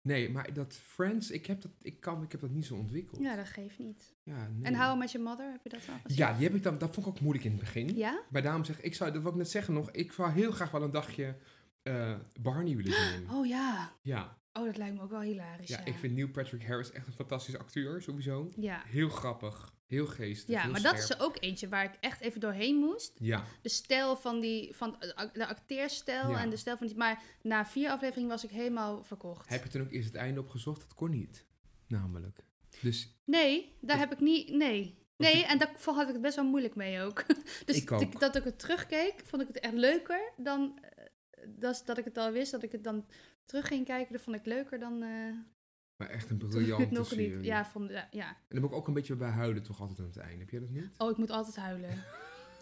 Speaker 2: nee, maar dat Friends, ik heb dat, ik kan, ik heb dat niet zo ontwikkeld.
Speaker 1: ja, dat geeft niet.
Speaker 2: Ja, nee.
Speaker 1: En How I Met Your Mother, heb je dat al gezien?
Speaker 2: Ja, die heb ik dan, dat vond ik ook moeilijk in het begin.
Speaker 1: Ja?
Speaker 2: Maar daarom zeg ik, ik zou, dat wil ik net zeggen nog, ik zou heel graag wel een dagje eh, Barney willen zijn.
Speaker 1: Oh ja.
Speaker 2: Ja.
Speaker 1: Oh, dat lijkt me ook wel hilarisch. Ja,
Speaker 2: ja, ik vind Neil Patrick Harris echt een fantastische acteur, sowieso.
Speaker 1: Ja,
Speaker 2: Heel grappig, heel geestig,
Speaker 1: ja
Speaker 2: heel
Speaker 1: maar dat is
Speaker 2: scherp.
Speaker 1: er ook eentje waar ik echt even doorheen moest.
Speaker 2: Ja,
Speaker 1: De stijl van, die, van eh, de acteerstijl
Speaker 2: Ja.
Speaker 1: en de stijl van die... Maar na vier afleveringen was ik helemaal verkocht.
Speaker 2: Heb je toen ook eerst het einde opgezocht? Dat kon niet, namelijk. Dus
Speaker 1: Nee, daar heb ik niet. Nee.
Speaker 2: Want
Speaker 1: Nee, en daar vond- had ik het best wel moeilijk mee ook. Dus
Speaker 2: Ik ook.
Speaker 1: dat- dat ik het terugkeek, vond ik het echt leuker dan eh, dat, dat ik het al wist. Dat ik het dan terug ging kijken, dat vond ik leuker dan eh,
Speaker 2: maar echt een
Speaker 1: toen ik het
Speaker 2: briljante
Speaker 1: nog
Speaker 2: serie.
Speaker 1: niet. Ja, vond, ja, ja.
Speaker 2: En dan moet ik ook een beetje bij huilen toch altijd aan het einde. Heb jij dat niet?
Speaker 1: Oh, ik moet altijd huilen.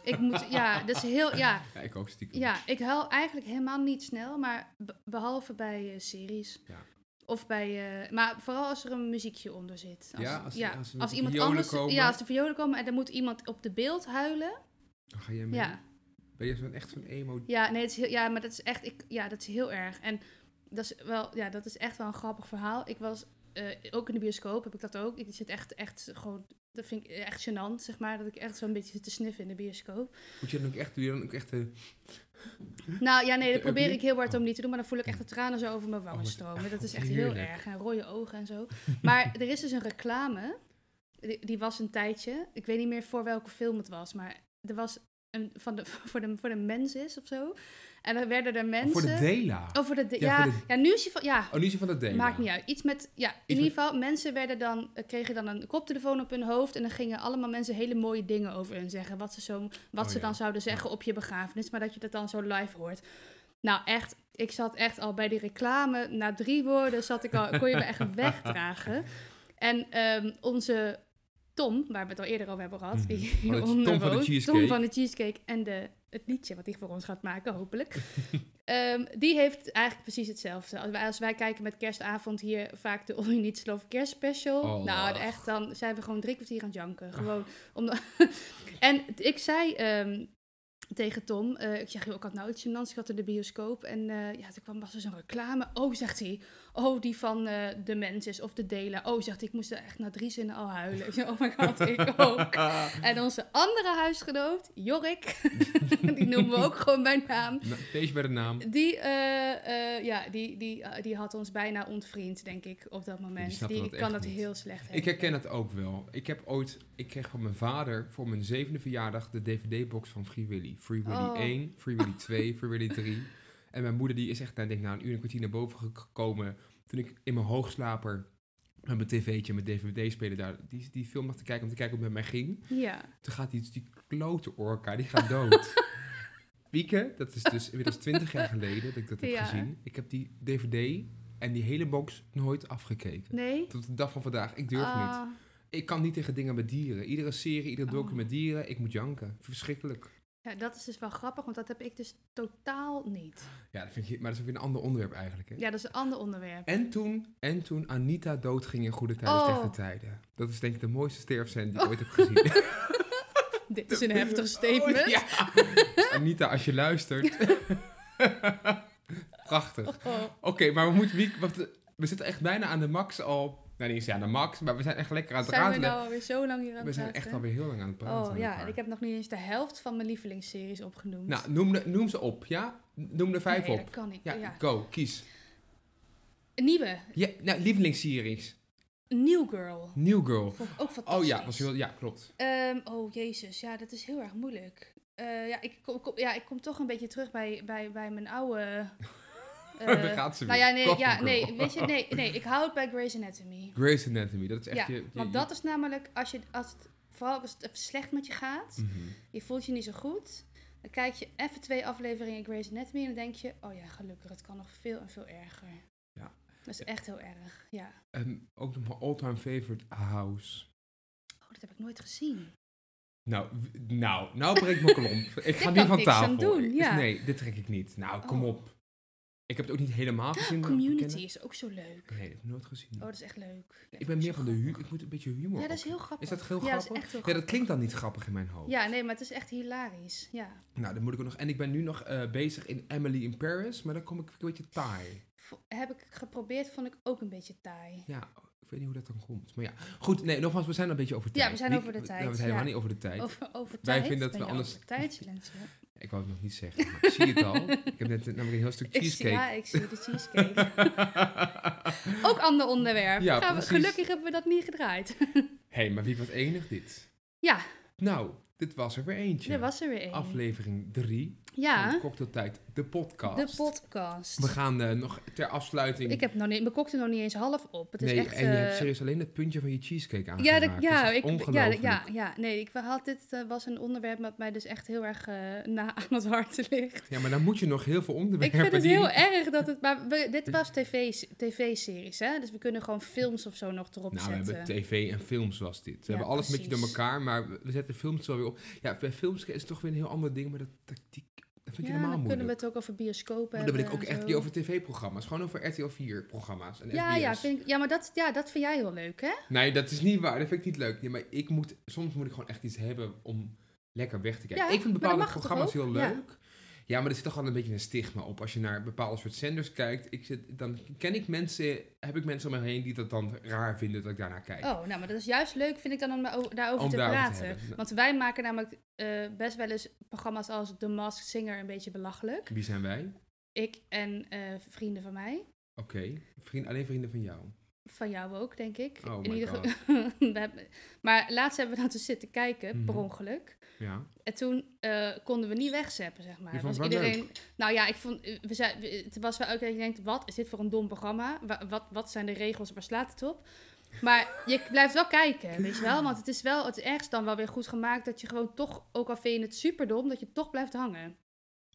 Speaker 1: ik moet, ja, dat is heel, ja.
Speaker 2: Ja, ik ook stiekem.
Speaker 1: Ja, ik huil eigenlijk helemaal niet snel, maar be- behalve bij eh, series.
Speaker 2: Ja.
Speaker 1: Of bij, eh, maar vooral als er een muziekje onder zit.
Speaker 2: Ja, als- als er met de
Speaker 1: iemand
Speaker 2: violen
Speaker 1: anders,
Speaker 2: komen.
Speaker 1: ja, als de violen komen en er moet iemand op de beeld huilen.
Speaker 2: Dan ga jij mee.
Speaker 1: Ja,
Speaker 2: Ben je zo'n, echt zo'n emo...
Speaker 1: ja, nee, het is heel, ja, maar dat is echt, ik, ja, dat is heel erg. En dat is wel, ja, dat is echt wel een grappig verhaal. Ik was eh, ook in de bioscoop, heb ik dat ook. Ik zit echt, echt gewoon, dat vind ik echt gênant, zeg maar, dat ik echt zo'n beetje zit te sniffen in de bioscoop.
Speaker 2: Moet je dan ook echt... Doe je dan ook echt... eh,
Speaker 1: Nou ja, nee, dat
Speaker 2: De
Speaker 1: probeer
Speaker 2: ugly?
Speaker 1: ik heel hard om
Speaker 2: Oh.
Speaker 1: niet te doen. Maar dan voel ik echt de tranen zo over mijn wangen
Speaker 2: wat-
Speaker 1: stromen. Dat is
Speaker 2: wat
Speaker 1: echt heel
Speaker 2: heerlijk.
Speaker 1: erg. En rode ogen en zo. Maar er is dus een reclame. Die, die was een tijdje. Ik weet niet meer voor welke film het was. Maar er was een van de, voor, de, voor de mens is of zo. En dan werden er mensen.
Speaker 2: Voor de Dela.
Speaker 1: Oh, voor de, de-
Speaker 2: Ja,
Speaker 1: ja,
Speaker 2: voor
Speaker 1: ja, nu is je van. Ja,
Speaker 2: Oh, nu is je van de Dela.
Speaker 1: Maakt niet uit. Iets met, ja, in
Speaker 2: met-
Speaker 1: ieder geval, mensen werden dan, eh, kregen dan een koptelefoon op hun hoofd. En dan gingen allemaal mensen hele mooie dingen over hun zeggen. Wat ze, zo, wat
Speaker 2: Oh,
Speaker 1: ze
Speaker 2: ja.
Speaker 1: dan zouden zeggen op je begrafenis. Maar dat je dat dan zo live hoort. Nou, echt, ik zat echt al bij die reclame. Na drie woorden zat ik al, kon je me echt wegdragen. En ehm, onze Tom, waar we het al eerder over hebben gehad, die
Speaker 2: Mhm. Van de-
Speaker 1: hieronder
Speaker 2: Tom van de
Speaker 1: woont,
Speaker 2: Cheesecake.
Speaker 1: Tom van de Cheesecake en de, het liedje wat hij voor ons gaat maken, hopelijk. Ehm, die heeft eigenlijk precies hetzelfde. Als wij, als wij kijken met kerstavond hier vaak de All You Need Is Love kerstspecial.
Speaker 2: Oh.
Speaker 1: Nou, echt, dan zijn we gewoon drie kwartier aan het janken. Gewoon omdat... en ik zei ehm, tegen Tom, eh, ik zeg, joh, ik had nou iets gênants, ik had in de bioscoop. En eh, ja, toen kwam was er zo'n reclame. Oh, zegt hij, oh, die van eh, de mens is of de delen. Oh, zegt hij, ik moest er echt na drie zinnen al huilen. Ik zei, oh my god, ik ook. En onze andere huisgenoot, Jorik, die noemen we ook gewoon bij naam.
Speaker 2: Nou, Deze bij de naam.
Speaker 1: Die, eh, eh, ja, die, die, eh, die had ons bijna ontvriend, denk ik, op dat moment.
Speaker 2: snapte
Speaker 1: Die,
Speaker 2: dat echt
Speaker 1: kan dat
Speaker 2: niet.
Speaker 1: heel slecht hebben.
Speaker 2: Ik herken het ook wel. Ik heb ooit... Ik kreeg van mijn vader voor mijn zevende verjaardag de DVD-box van Free Willy. Free Willy
Speaker 1: Oh.
Speaker 2: 1, Free Willy 2, Free Willy 3. En mijn moeder die is echt, nou, ik denk na een uur en een kwartier naar boven gekomen. Toen ik in mijn hoogslaper met mijn tv'tje, mijn dvd-speler daar, die, die film lag te kijken om te kijken hoe het met mij ging.
Speaker 1: Ja.
Speaker 2: Toen gaat die, die klote orka, die gaat dood. Wieke, dat is dus inmiddels 20 jaar geleden dat ik dat heb
Speaker 1: Ja.
Speaker 2: gezien. Ik heb die dvd en die hele box nooit afgekeken.
Speaker 1: Nee?
Speaker 2: Tot de dag van vandaag. Ik durf niet.
Speaker 1: Ah,
Speaker 2: Ik kan niet tegen dingen met dieren. Iedere serie, ieder
Speaker 1: Oh.
Speaker 2: docu met dieren, ik moet janken. Verschrikkelijk.
Speaker 1: Ja, dat is dus wel grappig, want dat heb ik dus totaal niet.
Speaker 2: Ja, dat vind ik, maar dat is ook weer een ander onderwerp eigenlijk. Hè?
Speaker 1: Ja, dat is een ander onderwerp.
Speaker 2: En, toen, en toen Anita doodging in Goede Tijden,
Speaker 1: Oh.
Speaker 2: Slechte Tijden. Dat is denk ik de mooiste sterfscène die ik ooit heb gezien.
Speaker 1: Dit is een heftig statement.
Speaker 2: Oh, ja. Dus Anita, als je luistert. Prachtig. Oké,
Speaker 1: Oh.
Speaker 2: maar we moeten... Wie, wat, we zitten echt bijna aan de max al Nou, die is ja naar Max, maar we zijn echt lekker aan het
Speaker 1: Zijn we
Speaker 2: praten.
Speaker 1: nou alweer zo lang hier aan
Speaker 2: we
Speaker 1: het
Speaker 2: zijn
Speaker 1: praten?
Speaker 2: echt alweer heel lang aan het praten.
Speaker 1: Oh
Speaker 2: met
Speaker 1: ja,
Speaker 2: elkaar.
Speaker 1: en ik heb nog niet eens de helft van mijn lievelingsseries opgenoemd.
Speaker 2: Nou, noem, de- noem ze op, ja? Noem er vijf
Speaker 1: nee,
Speaker 2: op.
Speaker 1: dat kan ik.
Speaker 2: Ja,
Speaker 1: Ja.
Speaker 2: go, kies.
Speaker 1: Nieuwe,
Speaker 2: Ja, nou, lievelingsseries.
Speaker 1: New Girl.
Speaker 2: New Girl.
Speaker 1: Vond ik ook fantastisch.
Speaker 2: Oh ja, was heel, ja klopt.
Speaker 1: Ehm, oh jezus, ja, dat is heel erg moeilijk. Eh, ja, ik kom, kom- ja, ik kom toch een beetje terug bij, bij, bij mijn oude... eh,
Speaker 2: Daar gaat ze weer.
Speaker 1: nou ja, nee,
Speaker 2: Gossip
Speaker 1: ja,
Speaker 2: Girl.
Speaker 1: nee, weet je, nee, nee, ik hou het bij Grey's Anatomy.
Speaker 2: Grey's Anatomy, dat is echt
Speaker 1: Ja,
Speaker 2: je... je-
Speaker 1: want
Speaker 2: je-
Speaker 1: dat is namelijk, als je, als het, vooral als het slecht met je gaat,
Speaker 2: Mhm.
Speaker 1: je voelt je niet zo goed, dan kijk je even twee afleveringen Grey's Anatomy en dan denk je, oh ja, gelukkig, het kan nog veel en veel erger.
Speaker 2: Ja.
Speaker 1: Dat is echt heel erg, ja.
Speaker 2: En Ehm, ook nog mijn all-time favorite, House.
Speaker 1: Oh, dat heb ik nooit gezien.
Speaker 2: Nou, w- nou, nou breekt mijn klomp. Ik ga
Speaker 1: kan
Speaker 2: nu van
Speaker 1: niks aan
Speaker 2: tafel.
Speaker 1: doen, ja.
Speaker 2: Nee, dit trek ik niet. Nou, kom
Speaker 1: Oh. Ah,
Speaker 2: op. Ik heb het ook niet helemaal gezien. moet ik
Speaker 1: Community
Speaker 2: bekennen.
Speaker 1: is ook zo leuk.
Speaker 2: Nee, dat heb ik nooit gezien.
Speaker 1: Oh, dat is echt leuk. Ja,
Speaker 2: ik
Speaker 1: dat
Speaker 2: ben
Speaker 1: is
Speaker 2: meer
Speaker 1: zo
Speaker 2: van de
Speaker 1: grappig.
Speaker 2: humor. Ik moet een beetje humor
Speaker 1: Ja, dat is
Speaker 2: op-
Speaker 1: heel grappig.
Speaker 2: Is dat heel
Speaker 1: Ja, dat is
Speaker 2: grappig?
Speaker 1: echt heel
Speaker 2: Ja, dat
Speaker 1: grappig.
Speaker 2: klinkt dan niet grappig in mijn hoofd.
Speaker 1: Ja, nee, maar het is echt hilarisch. Ja.
Speaker 2: Nou, dan moet ik ook nog... En ik ben nu nog eh, bezig in Emily in Paris, maar dan kom ik een beetje taai.
Speaker 1: Vo- Heb ik geprobeerd, vond ik ook een beetje taai.
Speaker 2: Ja, ik weet niet hoe dat dan komt. Maar ja, goed. Nee, nogmaals, we zijn een beetje over
Speaker 1: Ja,
Speaker 2: tijd.
Speaker 1: we zijn
Speaker 2: Niet-
Speaker 1: over de tijd,
Speaker 2: nou, we zijn helemaal
Speaker 1: ja.
Speaker 2: niet over de tijd.
Speaker 1: Over, over
Speaker 2: Wij
Speaker 1: tijd.
Speaker 2: vinden dat
Speaker 1: ben
Speaker 2: we
Speaker 1: je
Speaker 2: anders-
Speaker 1: over tijd, Silentje.
Speaker 2: Ik wou het nog niet zeggen, maar ik zie het al. Ik heb net eh, namelijk een heel stuk
Speaker 1: Ik zie,
Speaker 2: cheesecake.
Speaker 1: ja, ik zie de cheesecake. ook ander onderwerp.
Speaker 2: Ja,
Speaker 1: Gaan we,
Speaker 2: precies.
Speaker 1: gelukkig hebben we dat niet gedraaid.
Speaker 2: Hé, hey, maar wie was enig dit?
Speaker 1: Ja.
Speaker 2: Nou, dit was er weer eentje.
Speaker 1: Er was er weer één.
Speaker 2: Aflevering 3 van
Speaker 1: ja,
Speaker 2: Cocktailtijd, de podcast.
Speaker 1: de podcast.
Speaker 2: We gaan eh, nog ter afsluiting...
Speaker 1: Ik heb nog niet, mijn cocktail nog niet eens half op. Het is
Speaker 2: nee,
Speaker 1: echt,
Speaker 2: en je hebt
Speaker 1: eh,
Speaker 2: serieus alleen het puntje van je cheesecake
Speaker 1: ja,
Speaker 2: aangeraakt.
Speaker 1: dat- ja,
Speaker 2: Dat is
Speaker 1: ik,
Speaker 2: echt
Speaker 1: ja,
Speaker 2: ongelooflijk.
Speaker 1: dat- ja, ja, nee, ik had dit eh, was een onderwerp dat mij dus echt heel erg eh, na aan het hart ligt.
Speaker 2: Ja, maar dan moet je nog heel veel
Speaker 1: Ik
Speaker 2: onderwerpen...
Speaker 1: vind het
Speaker 2: die-
Speaker 1: heel erg dat het. Maar we, dit was tv tv-series, hè? Dus we kunnen gewoon films of zo nog erop
Speaker 2: Nou, we
Speaker 1: zetten.
Speaker 2: hebben tv en films was dit. We
Speaker 1: Ja,
Speaker 2: hebben alles een beetje door
Speaker 1: precies.
Speaker 2: elkaar, maar we we zetten films wel weer op. Ja, bij films is het toch weer een heel ander ding, maar dat tactiek... Dat vind ik
Speaker 1: ja,
Speaker 2: helemaal
Speaker 1: dan kunnen
Speaker 2: moeilijk.
Speaker 1: we het ook over bioscopen
Speaker 2: Maar dan ben ik ook
Speaker 1: hebben en
Speaker 2: echt
Speaker 1: zo.
Speaker 2: niet over tv-programma's. Gewoon over RTL 4-programma's en
Speaker 1: Ja,
Speaker 2: SBS.
Speaker 1: ja, vind ik, ja, maar dat, ja, dat vind jij heel leuk, hè?
Speaker 2: Nee, dat is niet waar. Dat vind ik niet leuk. Nee, maar ik moet, soms moet ik gewoon echt iets hebben om lekker weg te kijken.
Speaker 1: Ja,
Speaker 2: ik vind
Speaker 1: maar dat
Speaker 2: bepaalde
Speaker 1: mag toch
Speaker 2: programma's
Speaker 1: ook?
Speaker 2: heel
Speaker 1: Ja.
Speaker 2: leuk. Ja. maar er zit toch wel een beetje een stigma op. Als je naar bepaalde soort zenders kijkt, ik zit, dan ken ik mensen, heb ik mensen om me heen die dat dan raar vinden dat ik daarnaar kijk.
Speaker 1: Oh, nou, maar dat is juist leuk, vind ik dan, om daaro- daarover
Speaker 2: Om
Speaker 1: te
Speaker 2: daarover te
Speaker 1: praten.
Speaker 2: hebben.
Speaker 1: Want wij maken namelijk eh, best wel eens programma's als The Masked Singer een beetje belachelijk.
Speaker 2: Wie zijn wij?
Speaker 1: Ik en eh, vrienden van mij.
Speaker 2: Oké, Vriend, alleen vrienden van jou.
Speaker 1: Van jou ook, denk ik.
Speaker 2: Oh my
Speaker 1: geval- We hebben- maar laatst hebben we dat dus zitten kijken,
Speaker 2: Mhm.
Speaker 1: per ongeluk.
Speaker 2: Ja.
Speaker 1: En toen eh, konden we niet wegzeppen, zeg maar.
Speaker 2: Je vond
Speaker 1: Was
Speaker 2: het wel
Speaker 1: Nou ja, ik vond, eh, we zei, we- het was wel ook dat je denkt, wat is dit voor een dom programma? Wa- wat, wat zijn de regels? Waar slaat het op? Maar je blijft wel kijken, weet je wel? Want het is wel het is ergens dan wel weer goed gemaakt dat je gewoon toch, ook al vind je het superdom, dat je toch blijft hangen.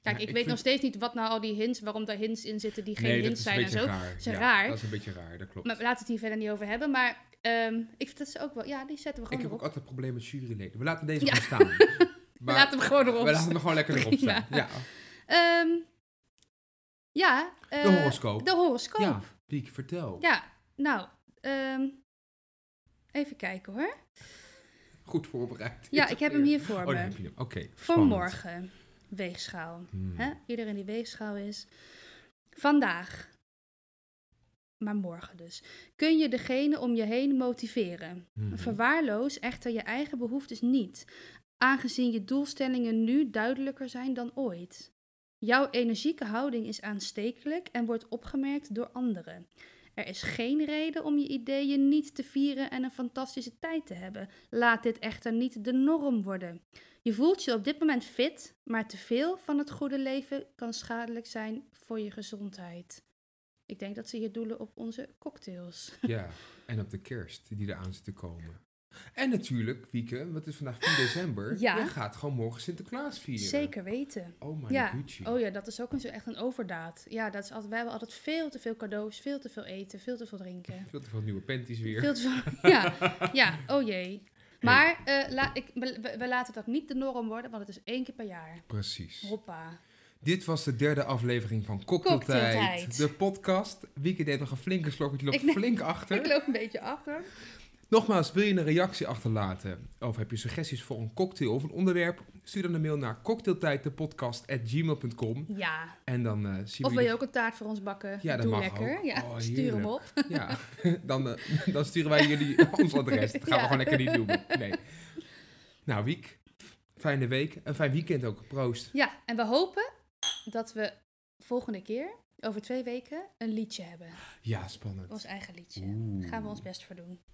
Speaker 1: Kijk,
Speaker 2: Ja,
Speaker 1: ik,
Speaker 2: ik
Speaker 1: weet
Speaker 2: vind-
Speaker 1: nog steeds niet wat nou al die hints, waarom daar hints in zitten die geen
Speaker 2: nee, dat
Speaker 1: hints
Speaker 2: is een
Speaker 1: zijn en
Speaker 2: beetje
Speaker 1: zo.
Speaker 2: raar.
Speaker 1: Ze
Speaker 2: ja,
Speaker 1: raar.
Speaker 2: Dat is een beetje raar, dat klopt.
Speaker 1: Maar laten we het hier verder niet over hebben. Maar ehm, ik vind dat ze ook wel, ja, die zetten we
Speaker 2: ik
Speaker 1: gewoon
Speaker 2: heb ook
Speaker 1: erop.
Speaker 2: altijd problemen met juryleden. We laten deze
Speaker 1: Ja.
Speaker 2: gewoon staan.
Speaker 1: We
Speaker 2: Maar-
Speaker 1: laten hem gewoon erop.
Speaker 2: We laten hem gewoon lekker erop
Speaker 1: Prima.
Speaker 2: staan. Ja.
Speaker 1: Ehm, ja. eh,
Speaker 2: De horoscoop.
Speaker 1: De horoscoop.
Speaker 2: Ja,
Speaker 1: Ja.
Speaker 2: Piek, vertel.
Speaker 1: nou. ehm, even kijken hoor.
Speaker 2: Goed voorbereid.
Speaker 1: Ja, ik heb hem hier voor
Speaker 2: Oh, daar
Speaker 1: me.
Speaker 2: heb je hem. Oké.
Speaker 1: voor
Speaker 2: spannend.
Speaker 1: morgen. Weegschaal.
Speaker 2: Hmm.
Speaker 1: Hè? Iedereen die weegschaal is. Vandaag. Maar morgen dus. Kun je degene om je heen motiveren?
Speaker 2: Hmm.
Speaker 1: Verwaarloos echter je eigen behoeftes niet, aangezien je doelstellingen nu duidelijker zijn dan ooit. Jouw energieke houding is aanstekelijk en wordt opgemerkt door anderen. Er is geen reden om je ideeën niet te vieren en een fantastische tijd te hebben. Laat dit echter niet de norm worden. Je voelt je op dit moment fit, maar te veel van het goede leven kan schadelijk zijn voor je gezondheid. Ik denk dat ze hier doelen op onze cocktails.
Speaker 2: Ja, en op de kerst die eraan zit te komen. En natuurlijk, Wieke, want het is vandaag 4 december.
Speaker 1: Ja.
Speaker 2: Je gaat gewoon morgen Sinterklaas vieren.
Speaker 1: Zeker weten.
Speaker 2: Oh my
Speaker 1: Ja.
Speaker 2: Gucci.
Speaker 1: Oh ja, dat is ook een, zo- echt een overdaad. Ja, dat is altijd, wij hebben altijd veel te veel cadeaus, veel te veel eten, veel te veel drinken.
Speaker 2: Veel te veel nieuwe panties weer.
Speaker 1: Veel te veel, ja, ja, oh jee. Maar eh, la, ik, we, we- we laten dat niet de norm worden, want het is één keer per jaar.
Speaker 2: Precies.
Speaker 1: Hoppa.
Speaker 2: Dit was de derde aflevering van Cocktailtijd.
Speaker 1: Cocktailtijd.
Speaker 2: De podcast. Wieke deed nog een flinke slok, want je loopt
Speaker 1: Ik neem-
Speaker 2: flink achter.
Speaker 1: Ik loop een beetje achter.
Speaker 2: Nogmaals, wil je een reactie achterlaten of heb je suggesties voor een cocktail of een onderwerp? Stuur dan een mail naar cocktailtijddepodcast.gmail.com
Speaker 1: Ja.
Speaker 2: en dan eh, zien
Speaker 1: Of
Speaker 2: we
Speaker 1: wil je
Speaker 2: jullie...
Speaker 1: ook een taart voor ons bakken?
Speaker 2: Ja, dat
Speaker 1: Doe
Speaker 2: mag
Speaker 1: lekker.
Speaker 2: ook.
Speaker 1: Ja,
Speaker 2: Oh,
Speaker 1: stuur hem op.
Speaker 2: Ja, dan, eh, dan sturen wij jullie ons adres. Dat gaan we
Speaker 1: Ja.
Speaker 2: gewoon lekker niet doen. Nee. Nou, Wiek, fijne week. Een fijn weekend ook. Proost.
Speaker 1: Ja, en we hopen dat we volgende keer, over twee weken, een liedje hebben.
Speaker 2: Ja, spannend.
Speaker 1: Ons eigen liedje.
Speaker 2: Oeh.
Speaker 1: Gaan we ons best voor doen.